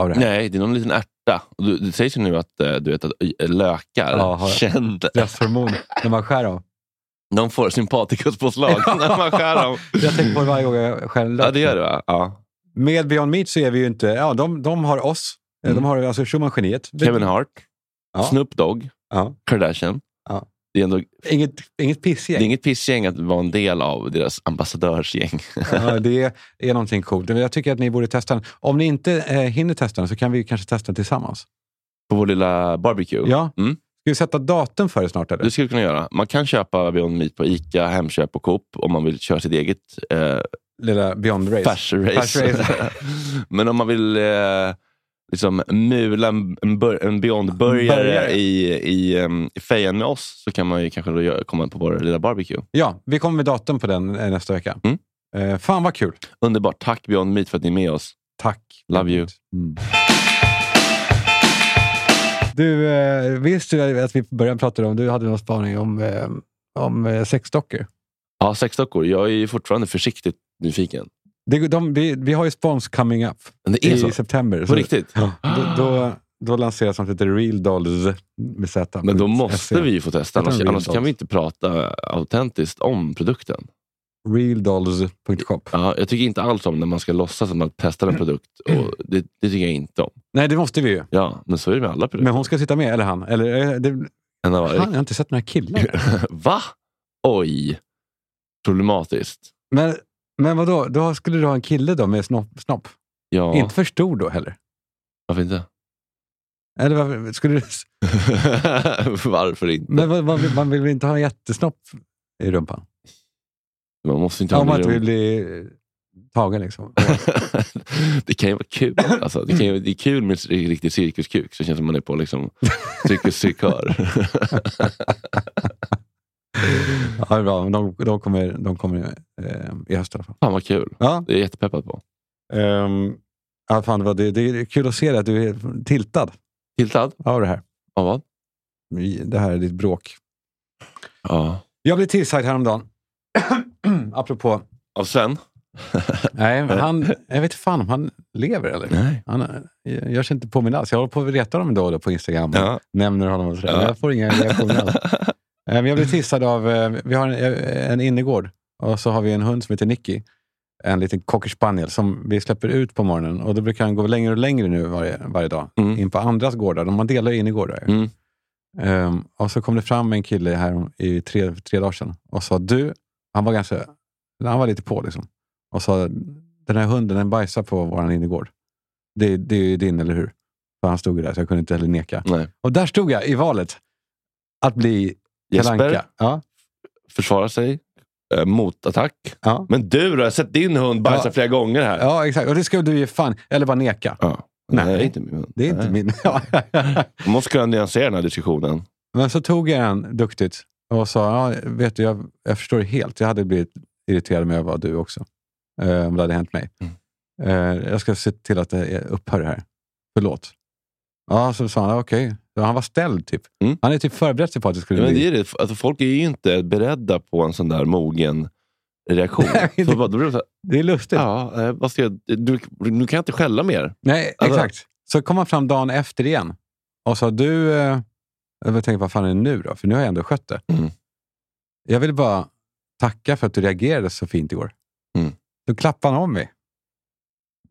[SPEAKER 2] av det här.
[SPEAKER 1] Nej, det är någon liten ärta. Och Du, det sägs ju nu att, eh, du vet, att ö- lökar,
[SPEAKER 2] Ja, har-
[SPEAKER 1] känd,
[SPEAKER 2] Stresshormon när man skär av.
[SPEAKER 1] de får sympatikuspåslag när man skär dem.
[SPEAKER 2] Jag tänker på det varje gång jag skär en lök.
[SPEAKER 1] Ja, det gör det va? Ja.
[SPEAKER 2] Med Beyond Meat så är vi ju inte... Ja, de, de har oss. Eh,
[SPEAKER 1] Mm.
[SPEAKER 2] De har alltså Schumann-geniet.
[SPEAKER 1] Kevin Hart,
[SPEAKER 2] Ja.
[SPEAKER 1] Snoop Dogg,
[SPEAKER 2] Ja.
[SPEAKER 1] Kardashian.
[SPEAKER 2] Ja.
[SPEAKER 1] Det är ändå
[SPEAKER 2] Inget, inget
[SPEAKER 1] Det är
[SPEAKER 2] pissgäng.
[SPEAKER 1] inget pissgäng att vara en del av deras ambassadörsgäng.
[SPEAKER 2] Ja, det är någonting coolt. Men Jag tycker att ni borde testa den. Om ni inte eh, hinner testa den så kan vi kanske testa den tillsammans.
[SPEAKER 1] På vår lilla barbecue.
[SPEAKER 2] Ja.
[SPEAKER 1] Mm.
[SPEAKER 2] Ska vi sätta datum för det snart? Eller?
[SPEAKER 1] Det skulle du kunna göra. Man kan köpa Beyond Meat på Ica, Hemköp och Coop om man vill köra sitt eget eh,
[SPEAKER 2] Lilla Beyond Race.
[SPEAKER 1] färsrace.
[SPEAKER 2] Färsrace.
[SPEAKER 1] <laughs> Men om man vill eh, liksom mula en, en, bur- en Beyond-burgare
[SPEAKER 2] Burgare.
[SPEAKER 1] i, i, um, i fejan med oss så kan man ju kanske då göra, komma på vår lilla barbecue.
[SPEAKER 2] Ja, vi kommer med datum på den eh, nästa vecka.
[SPEAKER 1] Mm.
[SPEAKER 2] Eh, fan vad kul.
[SPEAKER 1] Underbart. Tack Beyond Meat för att ni är med oss.
[SPEAKER 2] Tack.
[SPEAKER 1] Love you.
[SPEAKER 2] Mm. Du, eh, visste du att vi i början pratade om, du hade någon spaning om, eh, om eh, sexdockor?
[SPEAKER 1] Ja, sexdockor. Jag är ju fortfarande försiktigt nyfiken.
[SPEAKER 2] Det, de, vi, vi har ju spons coming up
[SPEAKER 1] Men det är
[SPEAKER 2] i
[SPEAKER 1] så.
[SPEAKER 2] september.
[SPEAKER 1] På
[SPEAKER 2] så-
[SPEAKER 1] riktigt. Ah.
[SPEAKER 2] Ja, då, då, då lanseras något som heter Real Dolls med Z. E.
[SPEAKER 1] Men då måste vi ju få testa,
[SPEAKER 2] Jag tar
[SPEAKER 1] annars,
[SPEAKER 2] en real
[SPEAKER 1] annars
[SPEAKER 2] dog.
[SPEAKER 1] kan vi inte prata autentiskt om produkten.
[SPEAKER 2] Realdolls.shop.
[SPEAKER 1] Ja, jag tycker inte alls om när man ska låtsas att man testar en produkt. Och det, det tycker jag inte om.
[SPEAKER 2] Nej, det måste vi ju.
[SPEAKER 1] Ja, men så är det med alla produkter.
[SPEAKER 2] Men hon ska sitta med, eller han. Eller, eh, det,
[SPEAKER 1] En av varje.
[SPEAKER 2] han jag har inte sett några killar.
[SPEAKER 1] Va? Oj. Problematiskt.
[SPEAKER 2] Men, men vadå, då skulle du ha en kille då med snopp? snopp.
[SPEAKER 1] Ja,
[SPEAKER 2] Inte för stor då heller?
[SPEAKER 1] varför inte? <laughs>
[SPEAKER 2] Eller varför, skulle du,
[SPEAKER 1] varför inte?
[SPEAKER 2] men vad, vad, man vill väl inte ha en jättesnopp i rumpan?
[SPEAKER 1] Man måste inte
[SPEAKER 2] Ja, om man
[SPEAKER 1] ha
[SPEAKER 2] inte vill
[SPEAKER 1] det.
[SPEAKER 2] bli eh, tagen liksom.
[SPEAKER 1] <laughs> det kan ju vara kul. Alltså, det, kan ju, det är kul med en riktig cirkuskuk, så det känns som man är på liksom, cirkus
[SPEAKER 2] <laughs>
[SPEAKER 1] cirkör.
[SPEAKER 2] Ja, det är bra. Men De, de kommer, de kommer eh, i höst i alla fall.
[SPEAKER 1] Fan vad kul.
[SPEAKER 2] Ja,
[SPEAKER 1] Det är jag jättepeppad på.
[SPEAKER 2] Um, ja, fan, vad det, det är kul att se dig att du är tiltad
[SPEAKER 1] Tiltad?
[SPEAKER 2] av det här.
[SPEAKER 1] Av vad?
[SPEAKER 2] Det här är ditt bråk.
[SPEAKER 1] Ja.
[SPEAKER 2] Jag blev tillsagd häromdagen. <clears throat> Apropå. Eh.
[SPEAKER 1] Av Sven?
[SPEAKER 2] Nej, men han, jag vet inte fan om han lever eller?
[SPEAKER 1] Nej.
[SPEAKER 2] Han eh, gör sig inte påmind alls. Jag håller på att reta honom då och då på Instagram. och
[SPEAKER 1] Ja.
[SPEAKER 2] Nämner honom och sådär.
[SPEAKER 1] Ja.
[SPEAKER 2] Men Jag får inga reaktioner
[SPEAKER 1] <laughs>
[SPEAKER 2] alls. Eh, Men jag blev tillsagd av, eh, vi har en, eh, en innergård och så har vi en hund som heter Nicky. En liten cocker spaniel som vi släpper ut på morgonen. Och då brukar han gå längre och längre nu varje, varje dag.
[SPEAKER 1] Mm.
[SPEAKER 2] in på andras gårdar. De- Man delar ju in i gårdar.
[SPEAKER 1] Mm.
[SPEAKER 2] Ehm, och så kom det fram en kille här om- i tre, tre dagar sedan och sa du, han var ganska, han var lite på liksom. Och sa den här hunden den bajsar på våran innergård. Det, det är ju din, eller hur? För han stod ju där så jag kunde inte heller neka.
[SPEAKER 1] Nej.
[SPEAKER 2] Och där stod jag i valet att bli Kalle
[SPEAKER 1] Jesper
[SPEAKER 2] Anka. Ja,
[SPEAKER 1] försvarar sig eh, mot attack.
[SPEAKER 2] ja.
[SPEAKER 1] Men du då? Jag har sett din hund bajsa
[SPEAKER 2] Ja.
[SPEAKER 1] flera gånger här.
[SPEAKER 2] ja, exakt. Och det ska du ge fan, eller bara neka.
[SPEAKER 1] Ja.
[SPEAKER 2] Nej.
[SPEAKER 1] Nej, det är inte min hund.
[SPEAKER 2] Det är inte
[SPEAKER 1] Nej.
[SPEAKER 2] min... <laughs> Ja.
[SPEAKER 1] Man måste kunna nyansera den här diskussionen.
[SPEAKER 2] Men så tog jag den duktigt och sa, ja, vet du, jag, jag förstår det helt. Jag hade blivit irriterad om jag var du också. Eh, om det hade hänt mig.
[SPEAKER 1] Mm.
[SPEAKER 2] Eh, jag ska se till att det är- upphör det här. Förlåt. Ja, så sa han, "Ja, okej. Så Han var ställd typ.
[SPEAKER 1] Mm.
[SPEAKER 2] Han hade typ förberett sig på att det skulle
[SPEAKER 1] Ja, men
[SPEAKER 2] bli...
[SPEAKER 1] det är det. Alltså, folk är ju inte beredda på en sån där mogen <laughs> reaktion.
[SPEAKER 2] Nej, det-
[SPEAKER 1] så bara, då blir det så här,
[SPEAKER 2] Det är lustigt.
[SPEAKER 1] ja, eh, vad ska jag, du, nu kan jag inte skälla mer.
[SPEAKER 2] Nej,
[SPEAKER 1] Alltså-
[SPEAKER 2] exakt. Så kom han fram dagen efter igen och sa, du... Eh, jag tänkte, vad fan är det nu då? För nu har jag ändå skött det.
[SPEAKER 1] Mm.
[SPEAKER 2] Jag vill bara tacka för att du reagerade så fint igår.
[SPEAKER 1] Mm.
[SPEAKER 2] Då klappade han om mig.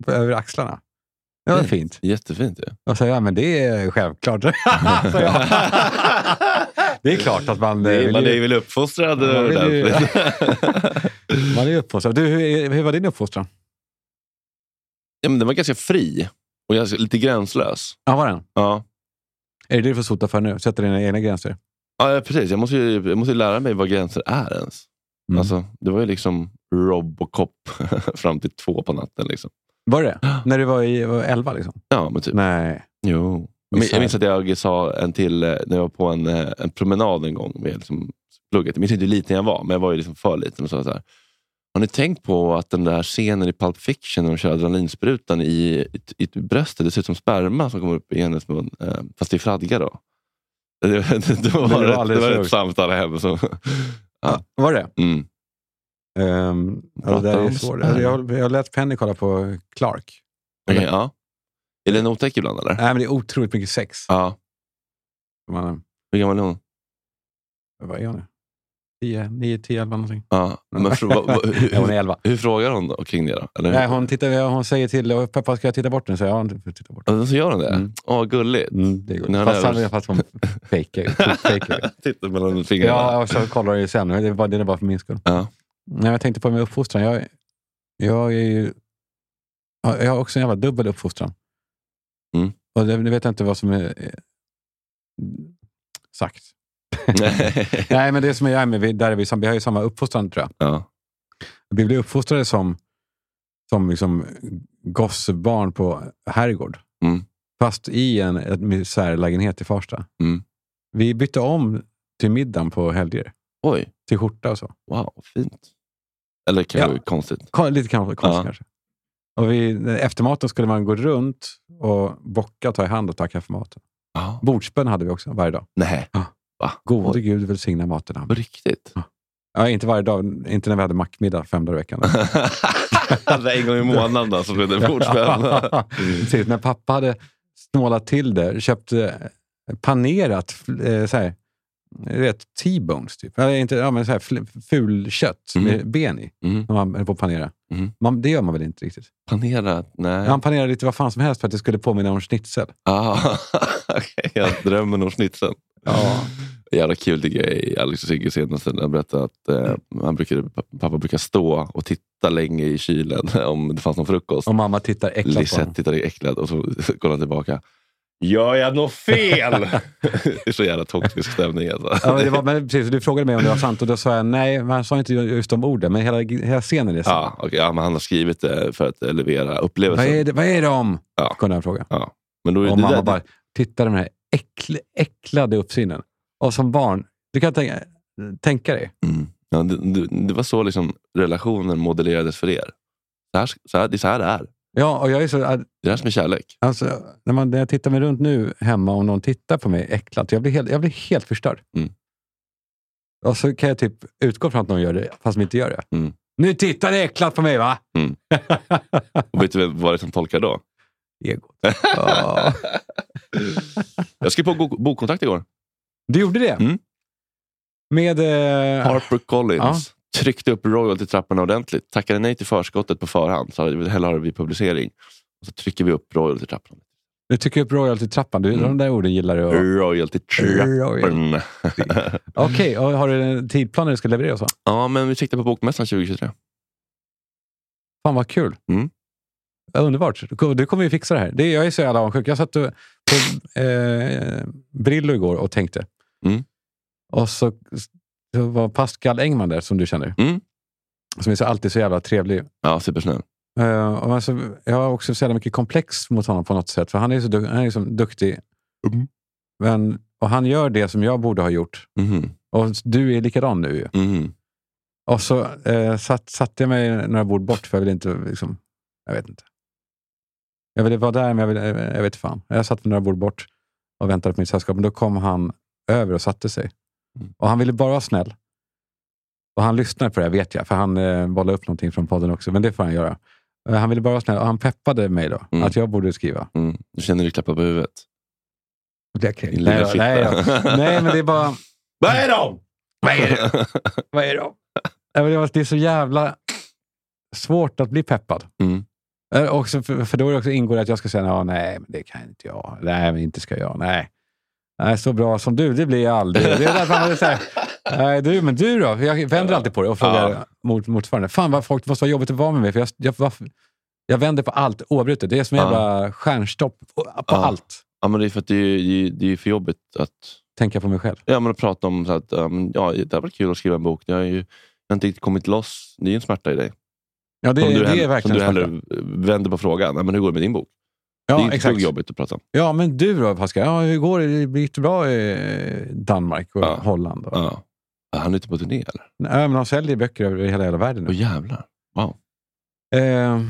[SPEAKER 2] Över axlarna. Det var fint.
[SPEAKER 1] Jättefint ju.
[SPEAKER 2] Och så ja, men det är självklart. <laughs> Så jag-
[SPEAKER 1] <laughs>
[SPEAKER 2] det är klart att man, eh,
[SPEAKER 1] Det är- Man är
[SPEAKER 2] vill,
[SPEAKER 1] väl uppfostrad eh,
[SPEAKER 2] Man vill ju-
[SPEAKER 1] ordentligt.
[SPEAKER 2] man är uppfostrad. Du, hur, är- hur var din uppfostran?
[SPEAKER 1] <laughs> ja, men den var ganska fri och ganska, lite gränslös.
[SPEAKER 2] Ja, var den?
[SPEAKER 1] Ja.
[SPEAKER 2] Är det det du får sota för nu? Sätta dina egna gränser?
[SPEAKER 1] Ja, ja, precis. Jag måste, ju, jag måste ju lära mig vad gränser är ens.
[SPEAKER 2] Mm.
[SPEAKER 1] Alltså, det var ju liksom Robocop <laughs> fram till två på natten. Liksom.
[SPEAKER 2] Var det När du var i var 11? Liksom?
[SPEAKER 1] Ja, men typ.
[SPEAKER 2] Nej.
[SPEAKER 1] Jo. Jag minns-
[SPEAKER 2] Misär.
[SPEAKER 1] jag minns att jag sa en till eh, när jag var på en, eh, en promenad en gång med liksom plugget. Jag minns inte hur liten jag var, men jag var ju liksom för liten. Och sa så här, har ni tänkt på att den där scenen i Pulp Fiction när de kör adrenalinsprutan i, i, i bröstet, det ser ut som sperma som kommer upp i hennes mun, eh, fast det är fradga då. <laughs> Det, det, det
[SPEAKER 2] Det
[SPEAKER 1] var,
[SPEAKER 2] var
[SPEAKER 1] det
[SPEAKER 2] alldeles
[SPEAKER 1] det var ett
[SPEAKER 2] sjukt.
[SPEAKER 1] samtal hem. Så, Ja.
[SPEAKER 2] Var det?
[SPEAKER 1] mm.
[SPEAKER 2] Um, ja, det där är ju
[SPEAKER 1] Prata om
[SPEAKER 2] svårt. Alltså,
[SPEAKER 1] spärr.
[SPEAKER 2] Jag, jag lät Penny kolla på Clark.
[SPEAKER 1] Okej, ja. Är den otäck ibland eller?
[SPEAKER 2] Nej, men det är otroligt mycket sex.
[SPEAKER 1] Ja.
[SPEAKER 2] Man,
[SPEAKER 1] Hur gammal är hon?
[SPEAKER 2] vad är hon nu? 10, 9, 10, 11 någonting.
[SPEAKER 1] Ja.
[SPEAKER 2] <laughs>
[SPEAKER 1] Men, för, vad- vad- hur,
[SPEAKER 2] Ja, hon är
[SPEAKER 1] hur,
[SPEAKER 2] 11.
[SPEAKER 1] hur frågar hon då, kring det? Då? Eller hur?
[SPEAKER 2] Nej, hon, tittar, hon säger till och pappa ska jag titta bort den? Så jag, ja, du får titta bort.
[SPEAKER 1] Ja, Alltså, Så gör hon det?
[SPEAKER 2] Mm.
[SPEAKER 1] Åh, gulligt. <laughs>
[SPEAKER 2] Mm, det är
[SPEAKER 1] Nej,
[SPEAKER 2] gulligt. Fast,
[SPEAKER 1] nej,
[SPEAKER 2] han-
[SPEAKER 1] <laughs>
[SPEAKER 2] fast hon fejkar ju. fejkar ju.
[SPEAKER 1] Titta
[SPEAKER 2] <laughs>
[SPEAKER 1] mellan fingrarna.
[SPEAKER 2] Ja, och så kollar jag ju sen. Det var, det var för min skull.
[SPEAKER 1] Ja.
[SPEAKER 2] Nej, jag tänkte på min uppfostran. Jag, jag är ju... ja, Jag har också en jävla dubbel uppfostran.
[SPEAKER 1] Mm.
[SPEAKER 2] Och det, nu vet jag inte vad som är eh, sagt. Nej, men det som är, men vi, där är vi, sam- vi har ju samma uppfostran tror
[SPEAKER 1] <laughs>
[SPEAKER 2] jag.
[SPEAKER 1] ja.
[SPEAKER 2] Vi blev uppfostrade som, som liksom gossebarn på herrgård.
[SPEAKER 1] Mm.
[SPEAKER 2] Fast i en ett misärlägenhet i Farsta.
[SPEAKER 1] Mm.
[SPEAKER 2] Vi bytte om till middagen på helger.
[SPEAKER 1] Oj,
[SPEAKER 2] Till skjorta och så.
[SPEAKER 1] wow, fint. Eller kanske konstigt.
[SPEAKER 2] Ko- Lite kan- konstigt
[SPEAKER 1] Ja.
[SPEAKER 2] kanske. Och vi, efter maten skulle man gå runt och bocka, ta i hand och tacka för maten.
[SPEAKER 1] Ja.
[SPEAKER 2] Bordsbön hade vi också varje dag.
[SPEAKER 1] Nej,
[SPEAKER 2] Ja.
[SPEAKER 1] va?
[SPEAKER 2] Gode
[SPEAKER 1] Oj,
[SPEAKER 2] Gud välsigna maten. han.
[SPEAKER 1] på
[SPEAKER 2] <laughs>
[SPEAKER 1] riktigt?
[SPEAKER 2] Ja, inte varje dag, inte när vi hade mackmiddag fem dagar i veckan.
[SPEAKER 1] det är Alltså, en gång i månaden då, så blev det <laughs> bordsbön.
[SPEAKER 2] <laughs>
[SPEAKER 1] <laughs>
[SPEAKER 2] Precis, Typ, när pappa hade snålat till det, köpt eh, panerat eh, så här, du vet, T-bones, typ. Eller inte, ja, men så här, fl- fulkött med
[SPEAKER 1] Mm.
[SPEAKER 2] ben i,
[SPEAKER 1] Mm.
[SPEAKER 2] som man höll på att panera.
[SPEAKER 1] Mm.
[SPEAKER 2] Man, det gör man väl inte riktigt?
[SPEAKER 1] Panera? Nej.
[SPEAKER 2] Han panerade lite vad fan som helst för att det skulle påminna om schnitzel.
[SPEAKER 1] Ah, <laughs> okej, jag drömmer om snitsen.
[SPEAKER 2] Ja.
[SPEAKER 1] Jävla kul tycker jag i Alex och Sigge senaste när han berättade att eh, han brukade, pappa brukar stå och titta länge i kylen <laughs> om det fanns någon frukost.
[SPEAKER 2] Och mamma tittar äcklat på
[SPEAKER 1] Lisette
[SPEAKER 2] honom.
[SPEAKER 1] tittade äcklad och så <laughs> kollar han tillbaka. Gör jag något fel? <laughs> det är så jävla toxisk stämning. Alltså.
[SPEAKER 2] Ja, men det var, men precis, du frågade mig om det var sant och då sa jag nej, men han sa inte just de orden, men hela, hela scenen är sant.
[SPEAKER 1] <laughs> Ja, okej, ja, men han har skrivit det för att elevera
[SPEAKER 2] vad,
[SPEAKER 1] upplevelsen.
[SPEAKER 2] är det, vad är det om?
[SPEAKER 1] Ja.
[SPEAKER 2] Kunde han fråga.
[SPEAKER 1] Men då är
[SPEAKER 2] Och
[SPEAKER 1] det
[SPEAKER 2] mamma
[SPEAKER 1] där,
[SPEAKER 2] bara, titta de här äckl, äcklade uppsynen. Och som barn, du kan tänka, tänka dig.
[SPEAKER 1] mm, ja, det, det, det var så liksom relationen modellerades för er. Så här, så här, det är så här det är.
[SPEAKER 2] Ja, och jag är så,
[SPEAKER 1] Det är det här som är kärlek.
[SPEAKER 2] alltså, när, man, när jag tittar mig runt nu hemma, om någon tittar på mig äcklat, jag blir helt, jag blir helt förstörd.
[SPEAKER 1] Mm.
[SPEAKER 2] Och så kan jag typ utgå från att någon gör det, fast de inte gör det.
[SPEAKER 1] Mm.
[SPEAKER 2] Nu tittar ni äcklat på mig va?
[SPEAKER 1] Mm. Och vet du vem- vad det är som tolkar då?
[SPEAKER 2] Egot. Ja.
[SPEAKER 1] Jag skrev på go- bokkontrakt igår.
[SPEAKER 2] <laughs> Du gjorde det?
[SPEAKER 1] Mm.
[SPEAKER 2] Med... Eh,
[SPEAKER 1] Harper Collins. Tryckte upp royalty-trappan ordentligt. Tackade nej till förskottet på förhand. Så hade- hellre har vi publicering. Och så trycker vi upp royalty-trappan.
[SPEAKER 2] nu tycker jag upp royalty-trappan. Du,
[SPEAKER 1] Mm.
[SPEAKER 2] De där orden gillar du. och- Royalty.
[SPEAKER 1] Royalty-trappan.
[SPEAKER 2] Okej, och har du en tidplan när du ska leverera? och Så?
[SPEAKER 1] ja, men vi siktar på bokmässan 2023.
[SPEAKER 2] Fan vad kul.
[SPEAKER 1] Mm.
[SPEAKER 2] Ja, underbart. Du kom- Du kommer ju fixa det här. Det, är- jag är så jävla avundsjuk. Jag satt och- på eh, Brillo igår och tänkte.
[SPEAKER 1] Mm.
[SPEAKER 2] Och så, så var Pascal Engman där, som du känner.
[SPEAKER 1] Mm.
[SPEAKER 2] Som är så, alltid så jävla trevlig.
[SPEAKER 1] Ja, supersnäll.
[SPEAKER 2] Eh, och alltså, jag har också så jävla mycket komplex mot honom på något sätt. För han är ju så du, han är ju så duktig.
[SPEAKER 1] Mm.
[SPEAKER 2] Men, och han gör det som jag borde ha gjort.
[SPEAKER 1] Mhm,
[SPEAKER 2] Och du är likadan nu ju.
[SPEAKER 1] mhm.
[SPEAKER 2] Och så eh, satt, satte jag mig några bord bort, för jag ville inte... Liksom, jag vet inte. Jag ville vara där, men jag, ville, eh, jag vet fan. Jag satt några bord bort och väntade på mitt sällskap, men då kom han över och satte sig.
[SPEAKER 1] Mm.
[SPEAKER 2] Och han ville bara vara snäll. Och han lyssnar på det här, vet jag, för han eh, bollade upp någonting från podden också, men det får han göra. Eh, han ville bara vara snäll och han peppade mig då,
[SPEAKER 1] Mm.
[SPEAKER 2] att jag borde skriva.
[SPEAKER 1] Mm. Du känner dig klappad på huvudet.
[SPEAKER 2] Då blev jag kränkt.
[SPEAKER 1] Din
[SPEAKER 2] Nej,
[SPEAKER 1] lilla
[SPEAKER 2] då, nej, då.
[SPEAKER 1] fitta.
[SPEAKER 2] nej, men det är bara...
[SPEAKER 1] Vad är de? Vad är det?
[SPEAKER 2] Vad är de? <laughs> Nej, men det, var, det är så jävla svårt att bli peppad.
[SPEAKER 1] Mm.
[SPEAKER 2] Eh, Också för, för då är det också ingår det att jag ska säga "Ja, nej, men det kan inte jag. Nej, men inte ska jag. Nej. Nej, så bra som du, det blir jag aldrig. Det är därför man är
[SPEAKER 1] <laughs>
[SPEAKER 2] så här, nej, du, men du då? För Jag vänder alltid på det och frågar
[SPEAKER 1] Ja.
[SPEAKER 2] mot, motförande. Fan vad folk det måste vara jobbigt att vara med mig. För jag, jag, varför, Jag vänder på allt oavbrutet. Det är som en
[SPEAKER 1] Ja.
[SPEAKER 2] jävla stjärnstopp på på
[SPEAKER 1] Ja. <laughs>
[SPEAKER 2] allt.
[SPEAKER 1] Ja, men det är för att det är, ju- det är ju för jobbigt att,
[SPEAKER 2] Tänker jag på mig själv.
[SPEAKER 1] ja, men att prata om så att ja, men, ja, det hade varit kul att skriva en bok. Jag har ju jag har inte riktigt kommit loss. Det är ju en smärta i dig.
[SPEAKER 2] Ja, det,
[SPEAKER 1] Som
[SPEAKER 2] det
[SPEAKER 1] hell-
[SPEAKER 2] är verkligen
[SPEAKER 1] Som du
[SPEAKER 2] smärta.
[SPEAKER 1] hellre vänder på frågan. Ja, men hur går det med din bok? det är
[SPEAKER 2] Ja,
[SPEAKER 1] inte exakt.
[SPEAKER 2] exakt.
[SPEAKER 1] jobbigt att prata om.
[SPEAKER 2] Ja, men du då Pascal? Ja, hur går det? Det blir inte bra i eh, Danmark och
[SPEAKER 1] Ja.
[SPEAKER 2] Holland. Och.
[SPEAKER 1] Ja. Ja, Han är ute på turné eller?
[SPEAKER 2] Nej, men de säljer böcker över hela, hela världen nu.
[SPEAKER 1] Åh jävlar. Wow.
[SPEAKER 2] Eh,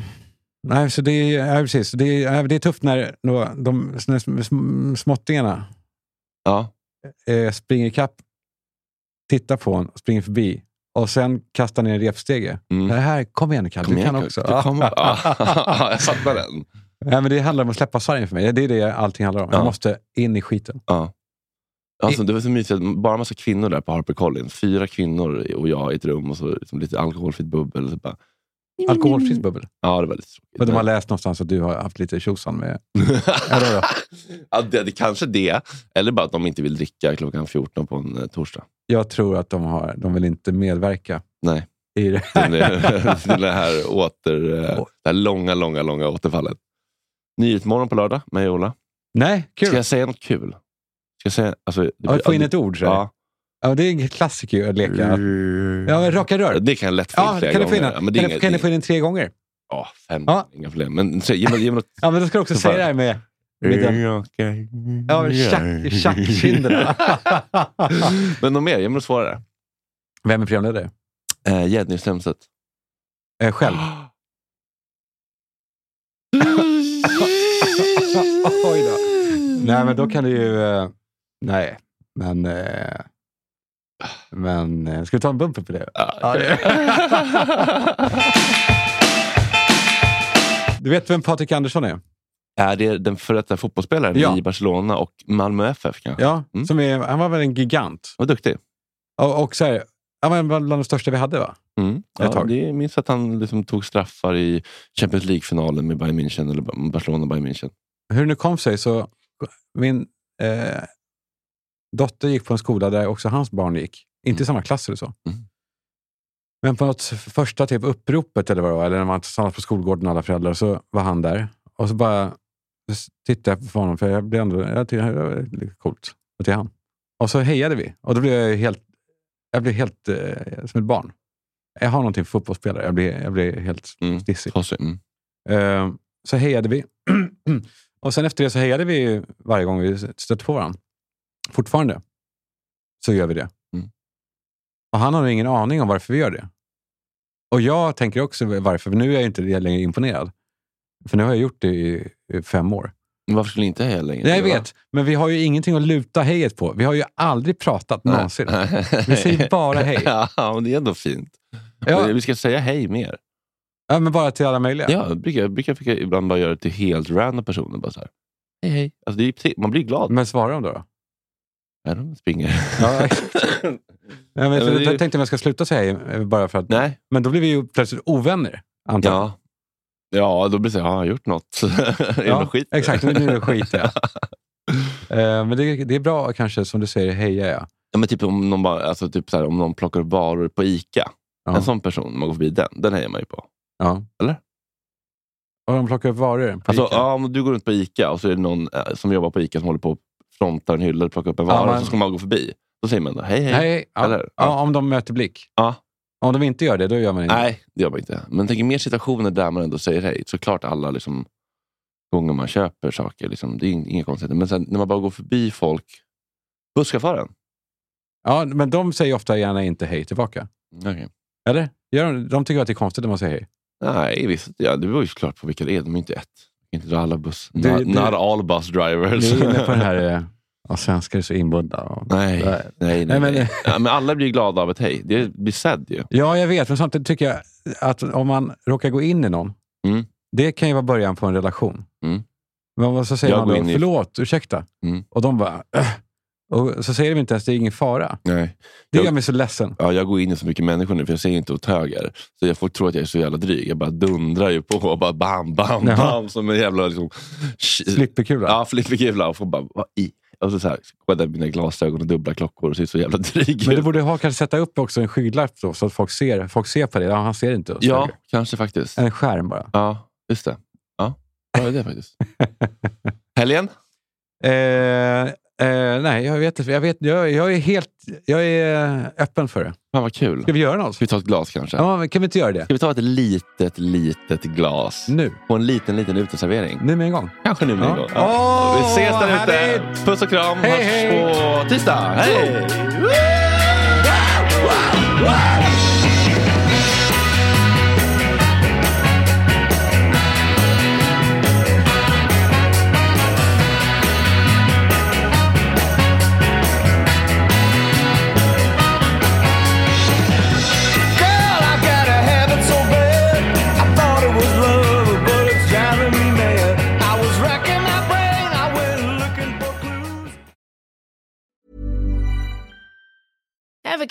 [SPEAKER 2] nej, så det, är, ja, precis. Det, är, det är tufft när då, de när sm- sm- småttingarna
[SPEAKER 1] Ja.
[SPEAKER 2] eh, springer ikapp, tittar på en, springer förbi och sen kastar ner en repstege.
[SPEAKER 1] Mm.
[SPEAKER 2] Det här, kom igen nu Kalle,
[SPEAKER 1] Kom
[SPEAKER 2] du
[SPEAKER 1] igen,
[SPEAKER 2] kan
[SPEAKER 1] Kurt.
[SPEAKER 2] också.
[SPEAKER 1] Du
[SPEAKER 2] <laughs>
[SPEAKER 1] kommer. Ja. <laughs> jag fattar den.
[SPEAKER 2] nej, men det handlar om att släppa sargen för mig. Det är det allting handlar om.
[SPEAKER 1] Ja.
[SPEAKER 2] Jag måste in i skiten.
[SPEAKER 1] Ja. Alltså, det var så mysigt. Bara en massa kvinnor där på HarperCollins. Fyra kvinnor och jag i ett rum och så liksom lite alkoholfritt bubbel. Och så bara,
[SPEAKER 2] Alkoholfritt bubbel.
[SPEAKER 1] ja, det var lite
[SPEAKER 2] För
[SPEAKER 1] tråkigt.
[SPEAKER 2] de har läst någonstans att du har haft lite tjosan
[SPEAKER 1] <laughs>
[SPEAKER 2] med... Eller vadå?
[SPEAKER 1] ja, det, det kanske det. Eller bara att de inte vill dricka klockan 14 på en eh, torsdag.
[SPEAKER 2] Jag tror att de, har, de vill inte medverka
[SPEAKER 1] Nej,
[SPEAKER 2] i det
[SPEAKER 1] till det, <laughs> till det här åter... eh, Det här långa, långa, långa återfallet. Nyhetsmorgon på lördag med Ola.
[SPEAKER 2] Nej, kul.
[SPEAKER 1] Ska jag säga något kul? Ska jag säga... Alltså, det
[SPEAKER 2] Ja,
[SPEAKER 1] blir-
[SPEAKER 2] få in ett ord. Så.
[SPEAKER 1] Ja.
[SPEAKER 2] Ja. Ja, det är en klassiker ju att leka. Ja, men raka rör.
[SPEAKER 1] Det kan jag lätt få in
[SPEAKER 2] Ja,
[SPEAKER 1] flera
[SPEAKER 2] kan du få in
[SPEAKER 1] gånger.
[SPEAKER 2] den?
[SPEAKER 1] Ja, men det är
[SPEAKER 2] Kan du-
[SPEAKER 1] inget-
[SPEAKER 2] Kan du få in den tre gånger?
[SPEAKER 1] Ja, fem.
[SPEAKER 2] Ja.
[SPEAKER 1] Inga problem. Men säg, ge mig, ge mig något...
[SPEAKER 2] Ja, men då ska du också
[SPEAKER 1] Så
[SPEAKER 2] säga
[SPEAKER 1] fan.
[SPEAKER 2] det här med... med den, ja, men tjack- tjackkinderna.
[SPEAKER 1] <laughs> Men något mer? Ge mig något svårare.
[SPEAKER 2] Vem är programledare?
[SPEAKER 1] Eh, Jenny Strömstedt.
[SPEAKER 2] Eh, själv. <laughs> Oj då. Nej, men då kan du ju... Eh, nej, men... Eh, men eh, ska vi ta en bumper på det?
[SPEAKER 1] Ja, <laughs> det-
[SPEAKER 2] Du vet vem Patrik Andersson är?
[SPEAKER 1] Är det den före detta fotbollsspelaren
[SPEAKER 2] Ja.
[SPEAKER 1] i Barcelona och Malmö FF? Kanske?
[SPEAKER 2] Ja,
[SPEAKER 1] Mm.
[SPEAKER 2] som är, han var väl en gigant.
[SPEAKER 1] Vad duktig.
[SPEAKER 2] Och, och så här, han var bland de största vi hade, va?
[SPEAKER 1] Mm.
[SPEAKER 2] Ett
[SPEAKER 1] Ja,
[SPEAKER 2] tag.
[SPEAKER 1] det jag minns att han liksom tog straffar i Champions League-finalen med Bayern München, eller Ba- Barcelona-Bayern München.
[SPEAKER 2] hur det nu kom sig så, min eh, dotter gick på en skola där också hans barn gick. Inte i samma klass eller så.
[SPEAKER 1] Mm.
[SPEAKER 2] Men på något första typ uppropet eller vad det var, eller när man tillsammans på skolgården alla föräldrar, så var han där. Och så bara s- tittade jag på honom, för jag blev ändå, jag tyckte det var lite coolt att det är han. Och så hejade vi. Och då blev jag ju helt, jag blev helt eh, som ett barn. Jag har någonting för fotbollsspelare. Jag blev, jag blev helt
[SPEAKER 1] Mm.
[SPEAKER 2] stissig.
[SPEAKER 1] Tossig. Mm.
[SPEAKER 2] Eh, Så hejade vi. <clears throat> och sen efter det så hejade vi ju varje gång vi stötte på varandra. Fortfarande så gör vi det.
[SPEAKER 1] Mm.
[SPEAKER 2] Och han har nog ingen aning om varför vi gör det. Och jag tänker också varför, för nu är jag inte längre imponerad. För nu har jag gjort det i i fem år.
[SPEAKER 1] Men Varför skulle ni inte heja längre?
[SPEAKER 2] Nej, jag vet, men vi har ju ingenting att luta hejet på. Vi har ju aldrig pratat någonsin. Vi säger bara hej.
[SPEAKER 1] <laughs> Ja, men det är ändå fint.
[SPEAKER 2] Ja,
[SPEAKER 1] Vi ska säga hej mer.
[SPEAKER 2] ja, men bara till alla möjliga.
[SPEAKER 1] Ja, jag brukar, jag brukar, brukar ibland bara göra det till helt random personer. Bara så här. Hej, hej. Alltså, det är, precis- man blir glad
[SPEAKER 2] Men svara dem då. <laughs> då.
[SPEAKER 1] när de springer.
[SPEAKER 2] <laughs> Ja, exakt. Ja, men,
[SPEAKER 1] men det är
[SPEAKER 2] jag
[SPEAKER 1] ju-
[SPEAKER 2] tänkte om jag ska sluta säga hej, eh, bara för att
[SPEAKER 1] Nej.
[SPEAKER 2] Men då blir vi ju plötsligt ovänner, antar jag.
[SPEAKER 1] Ja. ja, då blir det så här, har han gjort något? <laughs> är det något skit?
[SPEAKER 2] Exakt, nu är det
[SPEAKER 1] <laughs>
[SPEAKER 2] skit. Ja. Eh, Men det, det är bra kanske, som du säger, heja ja.
[SPEAKER 1] Ja, men typ om någon, bara, alltså, typ så här, om någon plockar upp varor på ICA.
[SPEAKER 2] Ja.
[SPEAKER 1] En sån person, man går förbi den, den hejar man ju på.
[SPEAKER 2] ja.
[SPEAKER 1] Eller?
[SPEAKER 2] Och de plockar upp varor på
[SPEAKER 1] Alltså,
[SPEAKER 2] Ica.
[SPEAKER 1] ja, om du går runt på ICA och så är det någon eh, som jobbar på ICA som håller på och frontar en hylla och plockar upp en
[SPEAKER 2] Ja,
[SPEAKER 1] vara och
[SPEAKER 2] men-
[SPEAKER 1] så ska man gå förbi. Då säger man då, hej hej.
[SPEAKER 2] Nej, ja.
[SPEAKER 1] Eller?
[SPEAKER 2] Ja, om de möter blick.
[SPEAKER 1] Ja.
[SPEAKER 2] Om de inte gör det, då gör man inte det.
[SPEAKER 1] Nej, det gör man inte. Men tänk er mer situationer där man ändå säger hej. Såklart alla liksom, gånger man köper saker, liksom, det är in- inga konstigheter. Men sen när man bara går förbi folk, busschauffören.
[SPEAKER 2] Ja, men de säger ofta gärna inte hej tillbaka.
[SPEAKER 1] Okay.
[SPEAKER 2] Eller? Gör de, de tycker att det är konstigt när man säger hej.
[SPEAKER 1] Nej, visst. Ja, det beror ju såklart på vilka det är. De är inte ett. Inte alla buss.
[SPEAKER 2] Det-
[SPEAKER 1] not,
[SPEAKER 2] det-
[SPEAKER 1] not all bus drivers.
[SPEAKER 2] Vi är inne på den här, eh, ja, svenskar är så inbundna. och-
[SPEAKER 1] <laughs> Nej, nej, nej. nej,
[SPEAKER 2] Nej, men-
[SPEAKER 1] Ja, men alla blir glada av ett hej. Det blir sedd ju.
[SPEAKER 2] Ja, jag vet, men samtidigt tycker jag att om man råkar gå in i någon,
[SPEAKER 1] Mm.
[SPEAKER 2] det kan ju vara början på en relation.
[SPEAKER 1] Mm.
[SPEAKER 2] Men vad- så säger
[SPEAKER 1] Jag
[SPEAKER 2] man
[SPEAKER 1] går
[SPEAKER 2] då,
[SPEAKER 1] in i-
[SPEAKER 2] förlåt, ursäkta.
[SPEAKER 1] Mm.
[SPEAKER 2] Och de bara, "Äh." och så säger de inte ens, det är ingen fara.
[SPEAKER 1] Nej.
[SPEAKER 2] Det
[SPEAKER 1] Jag-
[SPEAKER 2] gör mig så ledsen.
[SPEAKER 1] Ja, jag går in i så mycket människor nu, för jag säger inte åt höger. Så jag får tro att jag är så jävla dryg. Jag bara dundrar ju på och bara bam, bam,
[SPEAKER 2] Jaha.
[SPEAKER 1] bam. Som en jävla... Liksom,
[SPEAKER 2] Flipperkula.
[SPEAKER 1] Ja, flipperkula. Och får bara, vad i? Och så, så här, kollar jag mina glasögon och dubbla klockor och ser så jävla dryg
[SPEAKER 2] Men du
[SPEAKER 1] ut.
[SPEAKER 2] borde ha, kanske sätta upp också en skygglapp då, så Eh. att folk ser, folk ser på det. Ja, han ser inte oss.
[SPEAKER 1] Ja,
[SPEAKER 2] Eller?
[SPEAKER 1] kanske faktiskt.
[SPEAKER 2] En skärm bara.
[SPEAKER 1] Ja. Just det. Ja, bra idé
[SPEAKER 2] <laughs>
[SPEAKER 1] faktiskt. Helgen?
[SPEAKER 2] Eh, eh, nej, jag vet inte. Jag, vet, jag, jag är helt jag är eh, öppen för det.
[SPEAKER 1] Fan vad kul.
[SPEAKER 2] Ska
[SPEAKER 1] Ska
[SPEAKER 2] vi göra något?
[SPEAKER 1] vi ta ett glas kanske?
[SPEAKER 2] Ja, men kan vi inte göra det?
[SPEAKER 1] Ska vi ta ett litet, litet glas?
[SPEAKER 2] Nu.
[SPEAKER 1] På en liten, liten uteservering?
[SPEAKER 2] Nu med en gång.
[SPEAKER 1] Kanske nu med
[SPEAKER 2] Ja.
[SPEAKER 1] en gång.
[SPEAKER 2] Åh,
[SPEAKER 1] Vi ses där ute.
[SPEAKER 2] härligt!
[SPEAKER 1] Puss och kram.
[SPEAKER 2] Hej,
[SPEAKER 1] Hörs
[SPEAKER 2] hej.
[SPEAKER 1] på tisdag. Hej!
[SPEAKER 5] Girl, I got a habit so bad. I thought it was love, but it's driving me mad. I was racking my brain, I went looking for clues.
[SPEAKER 6] Ever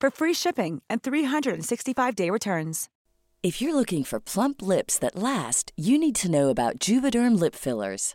[SPEAKER 7] for free shipping and 365-day returns.
[SPEAKER 8] If you're looking for plump lips that last, you need to know about Juvederm lip fillers.